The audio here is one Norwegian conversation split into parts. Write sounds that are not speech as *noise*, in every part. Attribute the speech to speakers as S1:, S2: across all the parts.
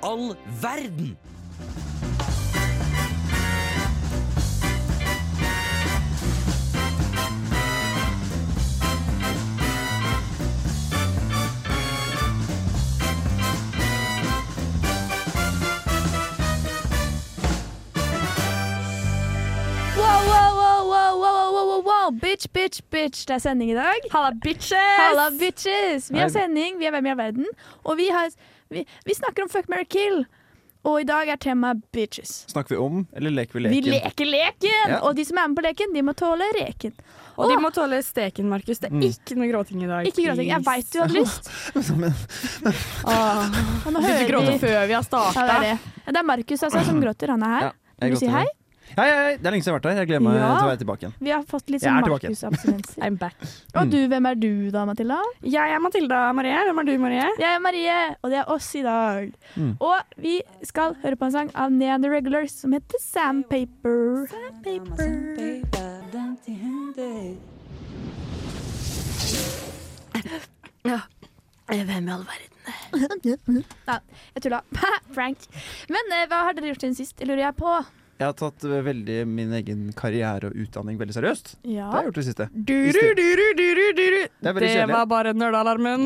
S1: all verden?
S2: Wow, wow, wow, wow, wow, wow, wow, wow, wow. Bitch, bitch, bitch. Det er sending i dag.
S3: Halla, bitches!
S2: Halla, bitches! Vi har
S1: Hei.
S2: sending, vi er Hvem i all verden, og vi, har, vi, vi snakker om fuck, marry, kill. Og i dag er temaet bitches.
S4: Snakker vi om, eller leker vi
S2: Vi
S4: leken?
S2: leker leken!
S4: Ja.
S2: Og de som er med på leken, de må tåle reken.
S3: Og de må tåle steken, Markus. Det
S4: Mm.
S3: er ikke noe gråting i dag.
S2: Ikke gråting. Jeg veit du hadde lyst.
S3: Åh,
S2: Og
S4: *laughs*
S2: nå
S3: du
S2: hører
S3: gråter
S2: vi
S3: før vi
S2: ja,
S3: har
S2: det,
S3: starta.
S2: er det. Ja, det er Markus altså, som gråter. Han er her. Vil
S4: jeg
S2: du si
S4: gråter.
S2: hei?
S4: Hei, hei, hei, det er lenge siden jeg har vært her. Jeg gleder meg
S2: Ja.
S4: til å være tilbake igjen.
S2: Vi har fått litt
S4: Jeg
S2: sånn
S4: er tilbake.
S2: Markus-abstinenser.
S3: I'm back.
S2: Og du, hvem er du da, Matilda?
S3: Jeg er Matilda Marie. Hvem er du, Marie?
S2: Jeg er Marie, og det er oss i dag.
S4: Mm.
S2: Og vi skal høre på en sang av Neon The Regulars som heter Sandpaper.
S3: Eh, Hvem i all verden?
S2: Nei, jeg tulla. *laughs* Frank. Men eh, hva har dere gjort siden sist, det lurer jeg på.
S4: Jeg har tatt eh, veldig min egen karriere og utdanning veldig seriøst. Det har
S2: Ja.
S4: jeg gjort det siste.
S3: Duru, duru, duru, duru.
S4: Det er veldig
S3: Det
S4: kjedelig.
S3: var bare nerdalarmen.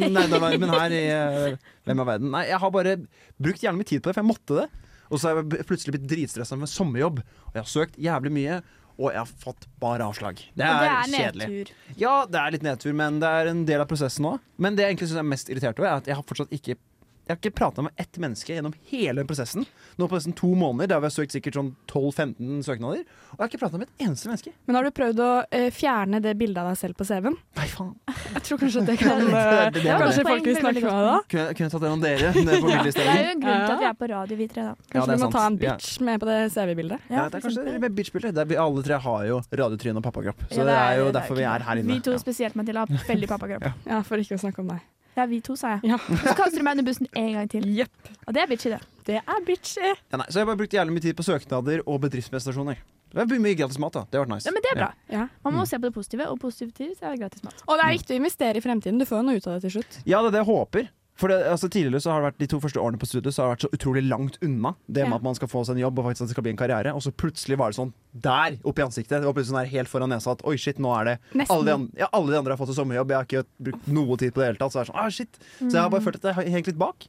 S4: Nerdalarmen her i eh, Hvem er verden? Nei, jeg har bare brukt jævlig mye tid på det, for jeg måtte det. Og så har jeg b- plutselig blitt dritstressa med sommerjobb. Og jeg har søkt jævlig mye, og jeg har fått bare avslag.
S2: Og
S4: Det er,
S2: det er
S4: kjedelig.
S2: nedtur.
S4: Ja, det er litt nedtur, men det er en del av prosessen nå. Men det jeg egentlig synes jeg er mest irritert over, er at jeg har fortsatt ikke jeg har ikke prata med ett menneske gjennom hele prosessen. Nå på nesten to måneder, der vi har søkt sikkert sånn 12-15 søknader. Og jeg har ikke prata med et eneste menneske.
S3: *laughs* Men har du prøvd å eh, fjerne det bildet av deg selv på CV-en?
S4: Nei, faen.
S3: Jeg tror kanskje *laughs* det kan
S4: er-
S3: eh,
S4: det er
S3: Kanskje
S2: veldig-
S3: folk vil snakke med deg da?
S4: Kunne, jeg- kunne jeg tatt en av dere
S2: *laughs*
S4: ned på
S2: Det er
S4: bildestillingen?
S2: jo en grunn til at vi er på radio, vi tre, da.
S4: Ja,
S3: Kanskje
S4: det er
S3: du må
S4: sant.
S3: ta en
S4: Ja.
S3: bitch med på det CV-bildet?
S4: Ja, det er kanskje det med bitchbilder. Det er vi- Alle tre har jo radiotryne og pappakropp.
S2: Ja,
S4: Så det er jo
S2: det
S4: derfor vi
S2: ikke
S4: er
S2: bra.
S4: her inne.
S2: Vi to
S4: Ja.
S2: spesielt, Matilda. har
S4: *laughs*
S2: Veldig pappakropp.
S3: Ja, for ikke å snakke om deg.
S2: Ja, vi to, sa jeg.
S3: Ja.
S2: Så kaster du meg under bussen en gang
S4: *laughs*
S2: til.
S3: Jepp.
S2: Og det er bitchy, det.
S3: Det er bitchy.
S4: Ja, nei, så jeg har bare brukt jævlig mye tid på søknader og bedriftsprestasjoner. Det er mye gratis mat, da. Det har vært nice.
S2: Ja, men det er bra.
S3: Ja.
S2: Man må
S4: Mm.
S2: se på det positive, og positivt er gratis mat.
S3: Og det er viktig å investere i fremtiden. Du får jo noe ut av det til slutt.
S4: Ja, det er det jeg håper. For det, altså, tidligere så har det vært De to første årene på studiet Så har det vært så utrolig langt unna det med
S3: Ja.
S4: at man skal få seg en jobb og faktisk at det skal bli en karriere. Og så plutselig var det sånn der opp i ansiktet. Det var plutselig sånn her helt foran nesa at oi, shit, nå er det
S3: Nesten.
S4: alle de, an- ja, alle de andre har fått seg sommerjobb, jeg har ikke brukt noe tid på det hele tatt. Så, er det sånn, ah, shit. så jeg har
S2: Mm.
S4: bare følt at jeg har hengt litt bak.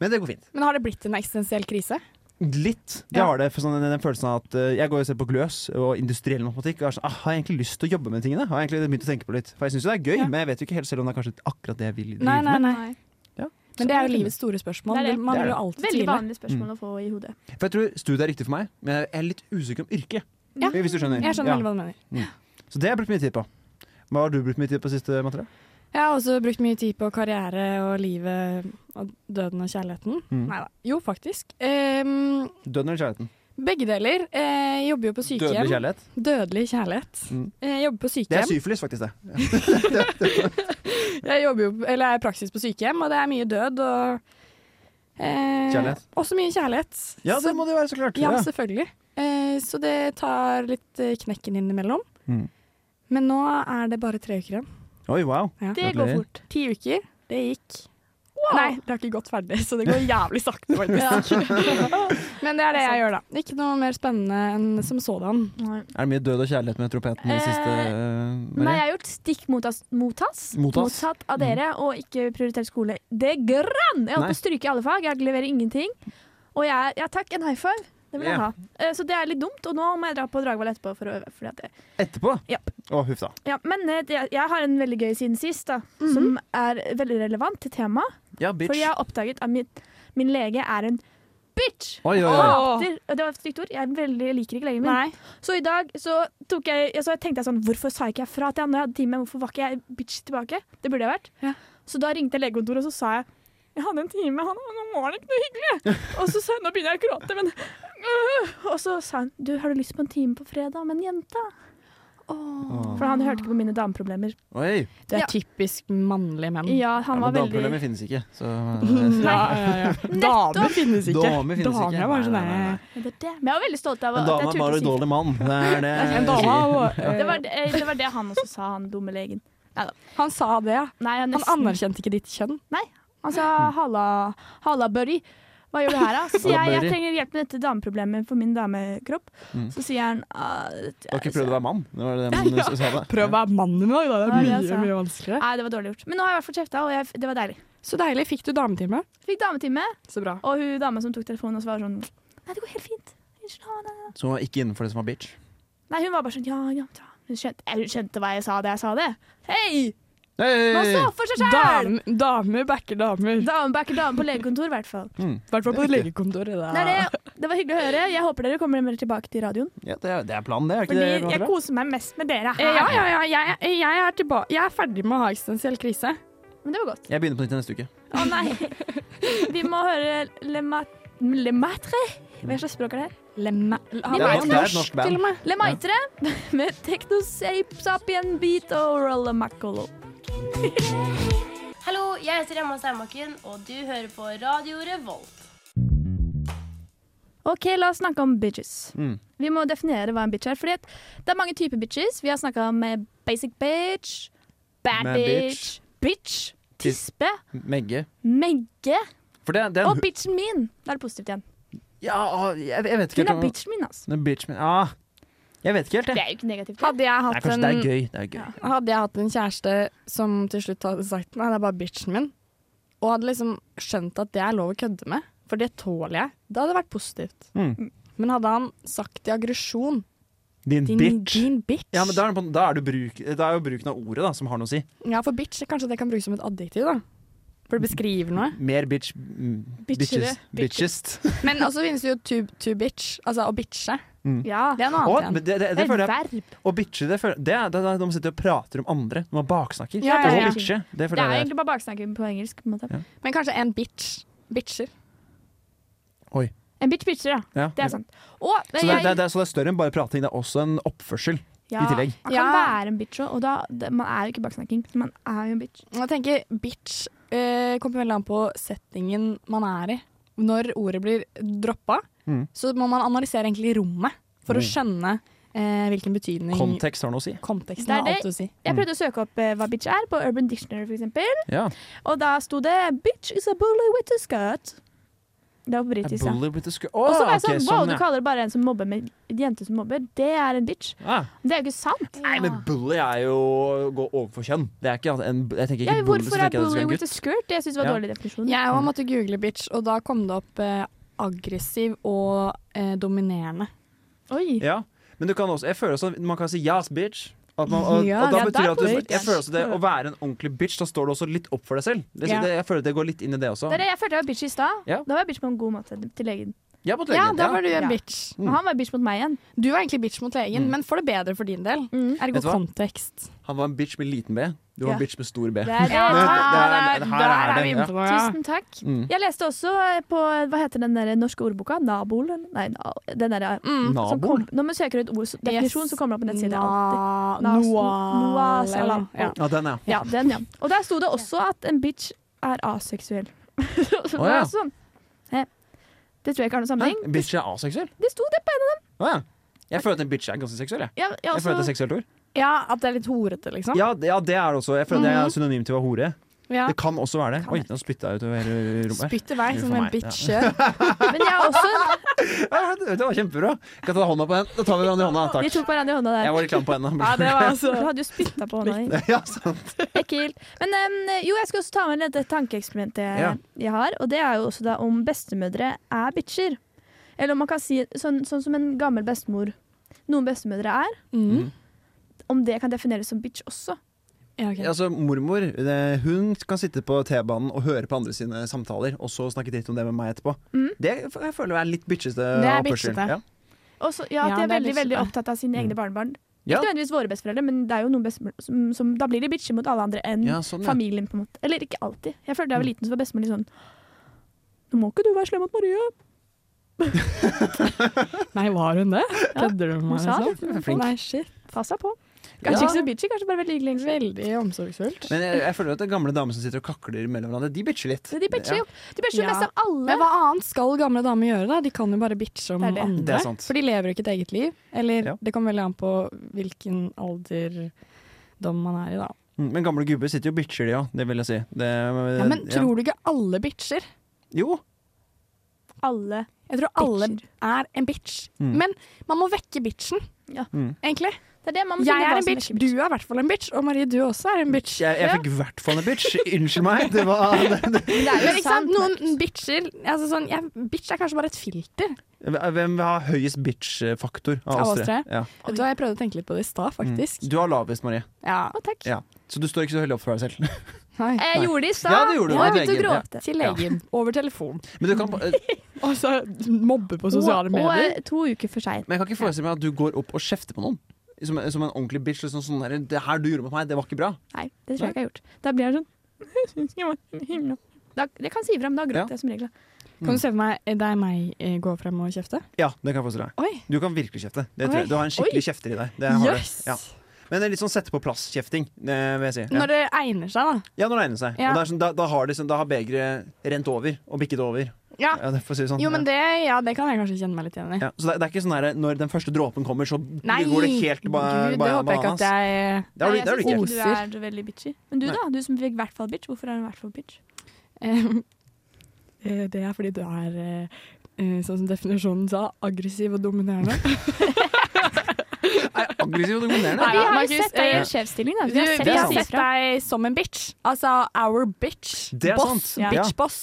S4: Men det går fint.
S3: Men har det blitt en eksistensiell krise?
S4: Litt. Det
S3: Ja.
S4: har det. For sånn, den, den følelsen av at eh, Jeg går jo selv på Gløs og industriell matematikk. Og er sånn, ah, har jeg egentlig lyst til å jobbe med tingene? Har jeg egentlig begynt å tenke på litt For jeg syns jo det er gøy,
S3: Ja.
S4: men jeg vet jo ikke helt selv om det er kanskje akkurat det jeg vil drive
S3: Nei, nei,
S4: med.
S3: nei.
S4: Ja.
S3: Men det er jo livets store spørsmål.
S2: Det er det.
S3: Man
S4: Det er
S3: vil
S4: det.
S3: jo alltid
S2: Veldig
S3: tvile.
S2: vanlig
S4: Mm.
S2: spørsmål å få i hodet.
S4: For jeg tror studiet er riktig for meg, men jeg er litt usikker om yrket.
S3: Ja.
S4: Hvis du skjønner.
S3: Jeg skjønner
S4: Ja.
S3: veldig hva du mener.
S4: Så det har jeg brukt mye tid på. Hva har du brukt mye tid på siste materiale?
S3: Jeg har også brukt mye tid på karriere og livet og døden og kjærligheten.
S4: Mm.
S3: Neida. Jo, faktisk. Ehm,
S4: Døden eller kjærligheten?
S3: begge deler. Eh, jeg jobber jo på sykehjem.
S4: Dødelig kjærlighet.
S3: Dødelig kjærlighet.
S4: Mm.
S3: Eh, Jeg jobber på
S4: Det er
S3: sykehjem.
S4: syfilis, faktisk. det
S3: Jeg jobber jo, eller jeg er i praksis på sykehjem, og det er mye død og eh,
S4: Kjærlighet.
S3: Også mye kjærlighet.
S4: Ja,
S3: Så-
S4: det må det være, så klart.
S3: Ja,
S4: Ja.
S3: selvfølgelig. Eh, så det tar litt eh, knekken innimellom.
S4: Mm.
S3: Men nå er det bare tre uker igjen.
S4: Oi, wow.
S3: Ja.
S2: Det går
S4: Gratulerer.
S2: fort.
S3: Ti uker, det gikk. Nei, det har ikke gått ferdig, så det går jævlig sakte. faktisk.
S2: *laughs*
S3: Men det er det jeg gjør, da. Altså, Ikke noe mer spennende enn som sådan.
S2: Nei.
S4: Er det mye død og kjærlighet med trompeten i det siste?
S2: Eh,
S4: eh,
S2: Nei,
S4: Marie?
S2: jeg har gjort stikk mottass, mottass,
S4: Mottass.
S2: mottatt av dere,
S4: Mm.
S2: og ikke prioritert skole. Det er grann! Jeg holdt på å stryke i alle fag, jeg leverer ingenting. Og jeg er Ja takk, en high five. Det vil jeg
S4: Ja.
S2: ha. Eh, Så det er litt dumt, og nå må jeg dra på Dragvoll etterpå for å øve. Fordi at det,
S4: Etterpå?
S2: Ja.
S4: Å, huff da.
S2: ja, men eh, det- jeg har en veldig gøy siden sist, da, som er veldig relevant til temaet.
S4: Ja, bitch.
S2: Fordi jeg har oppdaget at min, min lege er en bitch!
S4: Oi, oi, oi.
S3: Åh.
S2: Det, det var et stygt ord. Jeg er veldig, liker ikke legen min.
S3: Nei.
S2: Så i dag så, tok jeg, så tenkte jeg sånn Hvorfor sa ikke jeg fra til han når jeg hadde time? Hvorfor var ikke jeg bitch tilbake? Det burde jeg vært.
S3: Ja.
S2: Så da ringte jeg legekontoret, og så sa jeg jeg hadde en time, han, og nå var det ikke noe hyggelig. Og så sa jeg, nå begynner jeg å gråte, men øh. Og så sa han, du, har du lyst på en time på fredag med en jente? For han hørte ikke på mine dameproblemer.
S4: Oi.
S3: Det er
S2: Ja.
S3: typisk mannlige menn.
S2: Ja, han
S4: Ja,
S2: var
S4: men
S2: veldig
S4: dameproblemer finnes ikke.
S2: *laughs*
S4: Så
S3: Ja, ja, *laughs* ja. Damer finnes ikke.
S4: Damer finnes ikke.
S3: Damer er bare sånn
S4: Nei, nei, nei, nei.
S3: der-
S2: Det er det. Men jeg var veldig stolt av
S4: En
S2: at
S4: dame
S2: jeg
S4: er
S2: turte
S4: bare
S2: å
S4: en
S2: si
S4: dårlig mann. Det
S2: *laughs*
S4: er det.
S3: En dame *laughs* og, eh,
S2: det var det, det var det han også sa, han dumme legen.
S3: Han sa det, ja.
S2: Nei, jeg
S3: Han
S2: nesten-
S3: anerkjente ikke ditt kjønn.
S2: Han sa Altså, 'halla, halla buddy'. Hva gjør du her, da? Så sier jeg
S4: Mary.
S2: jeg trenger hjelp med dette dameproblemet for min damekropp.
S4: Mm.
S2: Så sier han ah,
S4: Du har ikke prøvd å være mann? Det var det man
S3: Ja.
S4: s- sa da.
S3: Prøv å være mann i dag, da.
S2: Ja,
S3: Det
S2: det
S3: er
S2: sa
S3: mye,
S2: jeg.
S3: mye vanskeligere.
S2: Nei, det var dårlig gjort. Men nå har jeg i hvert fall kjefta, og jeg, det var deilig.
S3: Så deilig. Fikk du dametime?
S2: Fikk dametime,
S3: Så bra.
S2: og hun dama som tok telefonen, og så var hun sånn Nei, det går helt fint. Unnskyld, ha det.
S4: Så hun var ikke innenfor det som var bitch.
S2: Nei, hun var bare sånn ja, ja, ja. Hun skjønte, eh, hun skjønte hva jeg sa da jeg sa det. Hei! Man
S4: Hey!
S2: står for seg sjæl!
S3: Dam, damer backer damer.
S2: Dame backer dame på legekontor, i hvert fall.
S4: Mm.
S3: I hvert fall på legekontoret. da.
S2: Det, er det. det var hyggelig å høre. Jeg håper dere kommer mer tilbake til radioen.
S4: Ja, Ah. det, er, det er planen, det. Er ikke
S2: Fordi
S4: det,
S2: jeg
S4: Andrea?
S2: koser meg mest med dere her.
S3: Eh, Ja, ja, ja. Jeg, jeg, er tilba jeg er ferdig med å ha eksistensiell krise.
S2: Men det var godt.
S4: jeg begynner på nytt neste uke.
S2: Å nei. Vi må høre Le, mat Le Maitre. Hva slags språk er det her?
S3: Lemme. Han
S4: Det er
S3: er
S4: et-
S3: jo
S4: det er et norsk
S3: norsk,
S4: band.
S3: til og med.
S2: Le Maitre med Technosapien Beat og Rolla Maccolo.
S1: Hallo, jeg heter Emma Steinbakken, og du hører på Radio Revolt.
S2: OK, la oss snakke om bitches.
S4: Mm.
S2: Vi må definere hva en bitch er. Fordi at det er mange typer bitches. Vi har snakka med basic bitch, bad
S4: Med
S2: bitch,
S4: bitch.
S2: bitch,
S4: Tis-
S2: tispe,
S4: Megge.
S2: megge
S4: For det, det er en *laughs*
S2: og bitchen min. Da er det positivt igjen.
S4: Ja, å, jeg, jeg vet ikke
S2: Hun
S4: helt
S2: er
S4: om-
S2: bitchen min, altså.
S4: Hun er bitch, men ah, Jeg vet ikke helt,
S2: Det
S4: jeg.
S2: er jo ikke negativt.
S3: Hadde jeg,
S4: Nei,
S3: hatt
S4: kanskje det
S3: en,
S4: er gøy. Det er gøy.
S2: Ja.
S3: hadde jeg hatt en kjæreste som til slutt hadde sagt nei, det er bare bitchen min, og hadde liksom skjønt at det er lov å kødde med, for det tåler jeg, da hadde det vært positivt.
S4: Mm.
S3: Men hadde han sagt i aggresjon
S4: Din,
S3: din
S4: bitch.
S3: din bitch.
S4: Ja, men da er, det på, da, er det bruk, da er jo bruken av ordet da, som har noe å si.
S3: Ja, for bitch kanskje det kan brukes som et adjektiv, da. For det beskriver noe.
S4: Mer bitch mm,
S2: Bitchere,
S4: Bitches. Bitchest.
S3: Men også finnes det jo to, to bitch, altså å bitche.
S2: Ja.
S3: Det er noe
S4: Å,
S3: annet
S4: men
S3: igjen.
S4: det, det, det
S2: et
S4: føler jeg
S2: verb.
S4: Å bitche, det føler Det er det er da man sitter og prater om andre. Når man baksnakker.
S3: Ja, ja,
S4: Å
S3: ja.
S4: bitche, det
S2: Det er
S4: føler
S2: jo
S4: jeg det er.
S2: egentlig bare baksnakking på engelsk. På en, måte.
S4: Ja.
S3: Men kanskje en bitch. Bitcher.
S4: Oi.
S2: en bitch bitcher, ja.
S4: Ja.
S2: Det er sant. Og,
S4: Så det, det, det, så det er større enn bare prating. Det er også en oppførsel i tillegg.
S2: Man kan
S3: Ja.
S2: være en bitch òg, og da det, Man er jo ikke baksnakking, så man er jo en bitch.
S3: Jeg tenker bitch eh, kommer veldig an på settingen man er i. Når ordet blir droppa,
S4: Mm.
S3: så må man analysere egentlig rommet for å skjønne eh, hvilken betydning
S4: Kontekst har noe å si.
S3: konteksten
S2: Det er
S3: har alt å si.
S2: Jeg
S4: Mm.
S2: prøvde å søke opp eh, hva bitch er på Urban Dictionary, for eksempel
S4: Ja.
S2: og da sto det 'bitch is a bully with a skirt'. Det var på
S4: A
S2: britisk, ja.
S4: bully with a sc-
S2: Og så
S4: Å,
S2: var jeg
S4: ok,
S2: sånn, wow,
S4: sånn,
S2: du
S4: ja.
S2: kaller det bare en som mobber med en jente som mobber. Det er en bitch.
S4: Ah.
S2: Det er jo ikke sant.
S4: Nei, men bully er jo å gå overfor kjønn. Det er ikke at en, jeg tenker
S2: Ja,
S4: ikke bully, så
S2: hvorfor er
S4: tenker jeg at det
S2: bully
S4: skal være en
S2: with a
S4: gutt.
S2: skirt? Det syns jeg var
S4: Ja.
S2: dårlig definisjon.
S3: Jeg òg måtte google bitch, og da kom det opp eh, aggressiv og eh, dominerende.
S2: Oi.
S4: Ja, men du kan også, jeg føler også, man kan si yes, bitch. At man, og,
S3: Ja,
S4: og da
S3: ja,
S4: betyr
S3: der
S4: at du,
S3: går det.
S4: jeg føler også det Å være en ordentlig bitch, da står du også litt opp for deg selv. Det,
S3: Ja.
S4: det, jeg føler det går litt inn i det også.
S2: Det er det, jeg følte jeg var bitch i stad.
S4: Ja.
S2: Da var jeg bitch på en god måte til legen.
S4: Ja, på
S3: Ja,
S4: legen,
S3: da var du en
S2: Ja.
S3: bitch.
S2: Og han var bitch mot meg igjen.
S3: Du var egentlig bitch mot legen,
S4: Mm.
S3: men for det bedre for din del.
S2: Mm.
S3: Ergo
S4: Vet du hva?
S3: kontekst.
S4: Han var en bitch med liten B. Du var
S2: Ja.
S4: en bitch med stor B.
S2: Det er,
S4: det-
S3: Ah, der, der
S4: det- her er
S3: er
S4: det,
S3: vi
S4: ja.
S3: inne på noe. ja.
S2: Tusen takk.
S4: Mm.
S2: Jeg leste også eh, på hva heter den der norske ordboka? Nabol? eller? Nei, na- den der, eh, som
S3: Mm.
S4: Nabo?
S2: kom, Når man søker ut ord, så- definisjon,
S3: Yes.
S2: så kommer det opp en nettside. alltid.
S3: Na-
S2: Nas-
S3: Noal
S2: Noas- eller-
S3: Ja.
S4: Ja, den, ja.
S2: Ja, den, ja. Og der sto det også at en bitch er aseksuell. *laughs* Så det var
S4: ja.
S2: sånn, eh, det tror jeg ikke har noen
S4: Hæ?
S2: sammenheng.
S4: Bitch er aseksuell?
S2: Det sto det på en av dem.
S4: Å ja. Jeg føler at en bitch er ganske seksuell. Jeg,
S2: Ja, altså- jeg
S4: jeg
S3: altså-
S4: føler at det er
S2: også,
S4: et seksuelt ord.
S3: ja, at det er litt horete, liksom.
S4: Ja, det, ja, det er det også. Jeg føler at det er synonym til å være hore.
S3: Mhm. Ja.
S4: Det kan også være det.
S3: Kan
S4: Oi,
S3: det.
S4: nå spytta jeg utover hele rommet.
S3: Spytt i vei
S4: Uff,
S3: som
S4: for
S3: en
S4: meg,
S3: bitch gjør.
S2: men jeg
S4: *laughs*
S2: er også
S4: Ja, det det var kjempebra. Kan ta hånda på den. Da tar vi hverandre i hånda.
S2: Vi
S4: Takk.
S2: tok hverandre i hånda der.
S4: Jeg var litt klam på henne.
S3: Ja, det var
S2: Du
S3: altså
S2: hadde jo spytta på hånda di.
S4: *laughs* Ja, sant.
S2: Ekkelt. Men em, jo, jeg skal også ta med dette tankeeksperimentet
S4: Ja.
S2: jeg har. Og det er jo også da om bestemødre er bitcher. Eller om man kan si sånn, sånn som en gammel bestemor. Noen bestemødre er.
S3: mm.
S2: Om det kan defineres som bitch også.
S3: ja, ok.
S4: Altså, mormor det, hun kan sitte på T-banen og høre på andre sine samtaler, og så snakke dritt om det med meg etterpå.
S2: Mm.
S4: Det f- jeg føler jeg er litt bitchete
S3: Mhm. Det er
S4: oppførsel.
S3: bitchete.
S4: Ja.
S2: Og så- ja, at
S3: Ja,
S2: de er
S3: det er
S2: veldig
S3: bitch-
S2: veldig opptatt av sine egne barnebarn.
S4: Mm. Ja.
S2: Ikke nødvendigvis våre besteforeldre, men det er jo noen bestemor som, som Da blir de bitcher mot alle andre enn
S4: ja, sånn, ja. Mm.
S2: familien, på en måte. Eller ikke alltid. Jeg følte da jeg var liten, så var bestemor litt sånn Nå må ikke du være slem mot Maria.
S3: Nei, var hun det? Kødder du med
S2: Hun
S3: meg?
S2: sa det.
S3: Liksom? Nei, shit.
S2: Pass deg på.
S4: Ja.
S2: Kanskje ikke så bitchy, kanskje bare veldig hyggelig. egentlig.
S3: Veldig omsorgsfullt.
S4: Men jeg, jeg føler at det er gamle damer som sitter og kakler mellom hverandre, de bitcher litt.
S2: Så De bitcher jo De bitcher jo
S3: Ja.
S2: mest av alle.
S3: Men hva annet skal gamle damer gjøre, da? De kan jo bare bitche om
S2: Det er det.
S4: Det
S3: andre.
S4: er sant.
S3: For de lever jo ikke et eget liv. Eller
S4: Ja.
S3: det kommer veldig an på hvilken alderdom man er i, da.
S4: Mm, Men gamle gubber sitter jo og Eh, bitcher, de òg. Det vil jeg si. Det,
S3: Ja, men tror du ikke alle bitcher?
S4: Jo.
S2: alle
S3: Jeg tror alle er en bitch.
S4: Mm.
S3: Men man må vekke bitchen,
S2: Ja.
S4: Mm.
S3: egentlig.
S2: Det er det man må
S3: Jeg
S2: finne
S3: er
S2: hva
S3: en
S2: som
S3: bitch,
S2: ikke
S3: du er i hvert fall en bitch, og Marie, du også er en bitch.
S4: Jeg, jeg fikk i hvert fall en bitch. Unnskyld meg. Det var
S2: Men det er jo
S3: Men ikke sant,
S2: sant,
S3: noen bitcher altså sånn, jeg, Bitch er kanskje bare et filter.
S4: Hvem har høyest bitch-faktor av oss tre? Ja.
S3: Vet du hva, Jeg prøvde å tenke litt på det i
S4: Mm.
S3: stad, faktisk.
S4: Du har lavest, Marie.
S3: Ja.
S2: Å, takk. Eh,
S4: Ja. Så du står ikke så høyt opp for deg selv. *laughs*
S3: Nei.
S1: Jeg gjorde det
S4: Ja,
S1: i stad.
S4: det gjorde du.
S2: Ja,
S4: med
S2: vet du,
S4: legen, ja.
S2: gråt.
S3: Til legen.
S2: *laughs*
S3: Over telefon.
S4: Men, du kan, eh,
S3: Og så mobbe på
S2: Og- Og eh, to uker for seint.
S4: men jeg kan ikke forestille meg at du går opp og kjefter på noen. Som, som en ordentlig bitch. Liksom, sånn der, det her du gjorde mot meg, det var ikke bra.
S2: Nei, det tror jeg ikke jeg har gjort. Da blir jeg sånn *laughs* jeg synes jeg var himla. Da, det kan si ifra, men da gråter
S4: Ja.
S2: jeg som regel.
S4: Mm.
S3: Kan du se for meg eh, deg og meg eh, gå frem og kjefte?
S4: Ja, det kan jeg forestille meg.
S3: Oi!
S4: Du kan virkelig kjefte. Det tror jeg.
S3: Oi.
S4: Du har en skikkelig
S3: Oi.
S4: kjefter i deg. Det har
S3: Yes.
S4: du. Ja. Men det er litt sånn sette på plass-kjefting, det vil jeg si. Ja.
S3: Når det egner seg, da.
S4: Ja, når det egner seg.
S3: Ja.
S4: Og det er sånn, da, da har, det sånn- da har begeret rent over og bikket over.
S3: Ja.
S4: Ja, det får si det sånn.
S3: Jo, men det, ja, det kan jeg kanskje kjenne meg litt igjen i.
S4: ja. Så det, det er ikke sånn her når den første dråpen kommer, så
S3: Nei,
S4: går det helt ba,
S3: Gud,
S4: ba,
S3: det håper jeg ikke
S4: bananas.
S3: at jeg
S4: Det har du,
S2: Nei,
S4: det har
S2: jeg
S4: du ikke.
S2: synes
S3: ikke.
S2: Du er veldig bitchy. Men du
S4: Nei.
S2: da, du som fikk i hvert fall bitch. Hvorfor er du i hvert fall bitch?
S3: Eh, Det er fordi du er, eh, eh, sånn som definisjonen sa, aggressiv og dominerende.
S4: Er jeg aggressiv og dominerende?
S3: Nei,
S2: vi
S3: ja,
S2: har
S3: Markus,
S2: jo sett deg i
S3: eh,
S2: en sjefsstilling, da.
S3: *laughs* Du,
S2: Vi har sett
S4: vi
S2: deg
S4: har
S2: si
S4: sett
S2: ifra.
S3: deg som en bitch. Altså our bitch.
S4: Det er
S3: boss.
S4: sant. Ja.
S3: Bitch boss.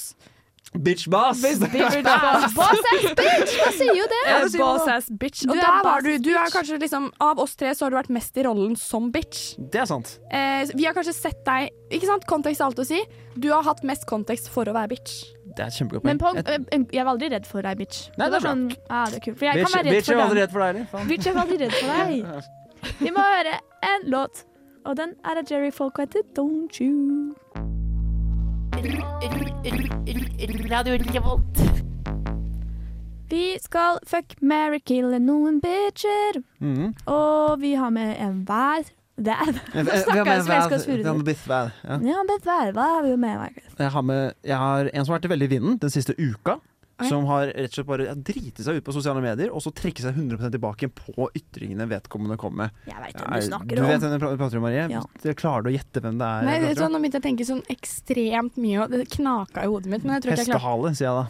S4: Bitch boss!
S3: Bitch *laughs* boss.
S2: Boss ass bitch! Hva sier jo det?
S4: Ja, det sier
S3: boss
S4: man.
S3: ass bitch. Og
S2: Du er
S3: da var
S2: boss
S3: du, du er kanskje liksom Av oss tre så har du vært mest i rollen som bitch.
S4: Det er sant.
S3: Eh, vi har kanskje sett deg Ikke sant? Kontekst er alt å si. Du har hatt mest kontekst for å være bitch.
S4: Det er et kjempegodt
S2: Men på,
S4: poeng. Et-
S2: eh, jeg var aldri redd for deg, bitch.
S4: Nei, det er
S2: var
S4: bra.
S2: sånn, ah, det er kult. For jeg
S4: Bitch
S2: kan være redd
S4: bitch, jeg
S2: for
S4: var
S2: den.
S4: aldri redd for deg heller. faen.
S2: Bitch, jeg var aldri redd for
S4: *laughs*
S2: deg. Vi må høre en låt, og den er av Jerry Folk og heter Don't You. Vi skal fuck, marry, kill noen bitcher.
S4: Mhm.
S2: Og vi har med en hver. Det er
S4: Jeg- jeg-
S2: snakker
S4: jeg har med
S2: jeg som jeg skal
S4: hver-
S2: svure
S4: jeg har med biff hver. Ja.
S2: Ja, men hver, hva har vi med? Markus?
S4: Jeg har, med, jeg har en som har vært veldig i vinden den siste uka.
S3: Oi.
S4: Som har rett og slett bare ja, driti seg ut på sosiale medier og så trekke seg 100 tilbake på ytringene vedkommende kom med.
S2: Jeg veit
S4: Ja,
S2: hvem du snakker
S4: du
S2: om.
S4: vet hvem du pra- prater om, Marie?
S2: Ja.
S4: Det- Klarer du å gjette hvem det er?
S3: Nei,
S4: jeg
S3: vet du,
S4: prater
S3: hva,
S4: om?
S3: Nå begynte jeg å tenke sånn ekstremt mye, og det knaka i hodet mitt. Men jeg tror ikke jeg klarte
S4: Hestehale, sier jeg da.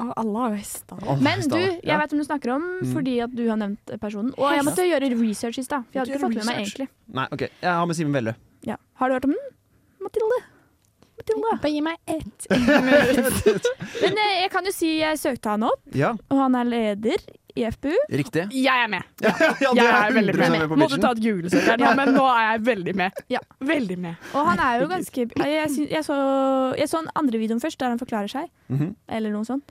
S3: Å, Alle har jo hestehale.
S4: Alle
S2: Men du,
S4: hestehale.
S2: jeg vet hvem du snakker om
S4: Mm.
S2: fordi at du har nevnt personen. Og jeg måtte gjøre research i stad. For jeg hadde ikke
S4: Gjøre
S2: fått med meg
S4: research.
S2: egentlig.
S4: Nei, ok, Jeg har med Simen Velle.
S2: Ja. Har du hørt om den? Mathilde. Mathilde.
S3: Bare gi meg ett.
S2: Men eh, jeg kan jo si jeg søkte han opp,
S4: Ja,
S2: og han er leder i FPU.
S4: riktig.
S3: Jeg er med.
S4: ja,
S3: Jeg er veldig
S4: 100%
S3: med.
S4: på
S3: Måtte
S4: bitchen.
S3: ta et googlesøk her nå, men nå er jeg veldig med.
S2: Ja.
S3: Veldig med.
S2: Og han
S4: *laughs*
S2: er jo ganske Jeg, sy- jeg, så, jeg så den andre videoen først, der han forklarer seg.
S4: Mhm.
S2: Eller noe sånt.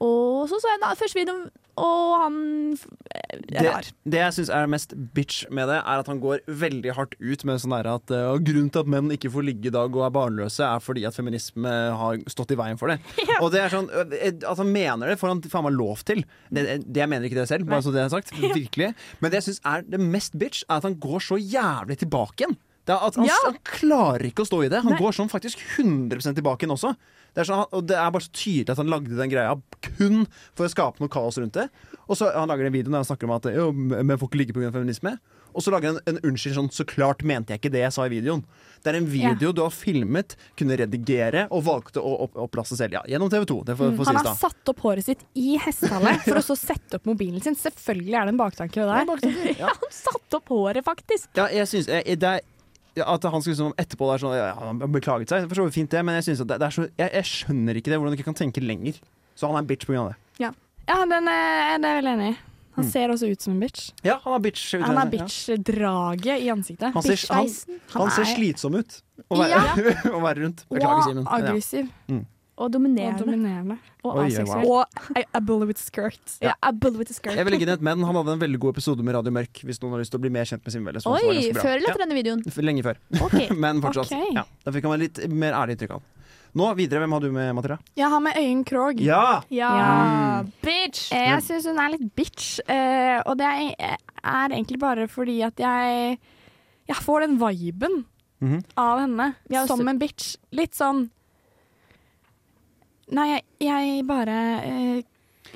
S2: Og så så jeg den første videoen, og han f- eh,
S4: Det-
S2: rar.
S4: Det jeg syns er mest bitch med det, er at han går veldig hardt ut med sånn der at eh, grunnen til at menn ikke får ligge i dag og er barnløse, er fordi at feminisme har stått i veien for det. Og det er sånn eh, At han mener det, får han faen meg lov til. Det, det jeg mener ikke det selv, bare så det er sagt. Virkelig. Men det jeg syns er det mest bitch, er at han går så jævlig tilbake igjen. Det er at han,
S2: Ja.
S4: han klarer ikke å stå i det. Han går sånn faktisk 100 tilbake igjen også. Det er sånn, og det er bare så tydelig at han lagde den greia kun for å skape noe kaos rundt det. Og så Han lager en video der han snakker om at jo, menn får ikke ligge pga. feminisme. Og så lager han en unnskyld sånn 'så klart mente jeg ikke det jeg sa i videoen'. Det er en video du har filmet, kunne redigere og valgte å opp opplaste selv. Ja, gjennom TV 2. Det får,
S3: Mm.
S4: får
S3: Han
S4: sies
S3: har
S4: da.
S3: satt opp håret sitt i hestehale for å så sette opp mobilen sin. Selvfølgelig er det en baktanke ved det der. *laughs*
S2: Han satte opp håret, faktisk.
S4: Ja, jeg synes, jeg, det er ja, at han skal liksom etterpå det er sånn, ja, Han beklaget seg, for så vidt fint det, men jeg, synes at det, det er så, jeg, jeg skjønner ikke det, hvordan du ikke kan tenke lenger. Så han er en bitch pga. det.
S3: Ja, den er, det er jeg veldig enig i. Han
S4: Hmm.
S3: ser også ut som en bitch.
S4: Ja, han er bitch.
S3: Han
S4: Ja.
S3: har bitch-draget i ansiktet.
S4: Han ser, han,
S2: Bitchfeisen.
S4: han ser
S3: er-
S4: slitsom ut å være, *laughs* å være rundt. Beklager,
S3: Og
S4: Simen. Ja.
S3: aggressiv
S2: Og
S3: og *laughs*
S2: dominerende.
S3: dominerende.
S2: Og
S4: Oi, oi,
S2: aseksuell.
S4: wow.
S3: Og a, a bullet with skirt.
S2: Ja, a bull with a skirt.
S4: Jeg vil legge inn et men. Han hadde en veldig god episode med Radio Mørk. Hvis noen har lyst til å bli mer kjent med Simen Velle. som også var
S2: Oi,
S4: ganske bra.
S2: før eller etter denne videoen?
S4: Ja, f- lenge før.
S2: Ok.
S4: *laughs* Men fortsatt.
S3: Ok.
S4: Ja, da fikk han et litt mer ærlig inntrykk av han. Nå videre. Hvem har du med, Mathilda?
S3: Jeg har med Øyunn Krogh.
S4: Ja! Mm.
S2: Ja, bitch!
S3: Eh, Jeg syns hun er litt bitch, eh, og det er, er egentlig bare fordi at jeg Jeg får den viben
S4: Mhm.
S3: av henne
S2: Ja,
S3: som
S2: så-
S3: en bitch. Litt sånn Nei, jeg, jeg bare eh,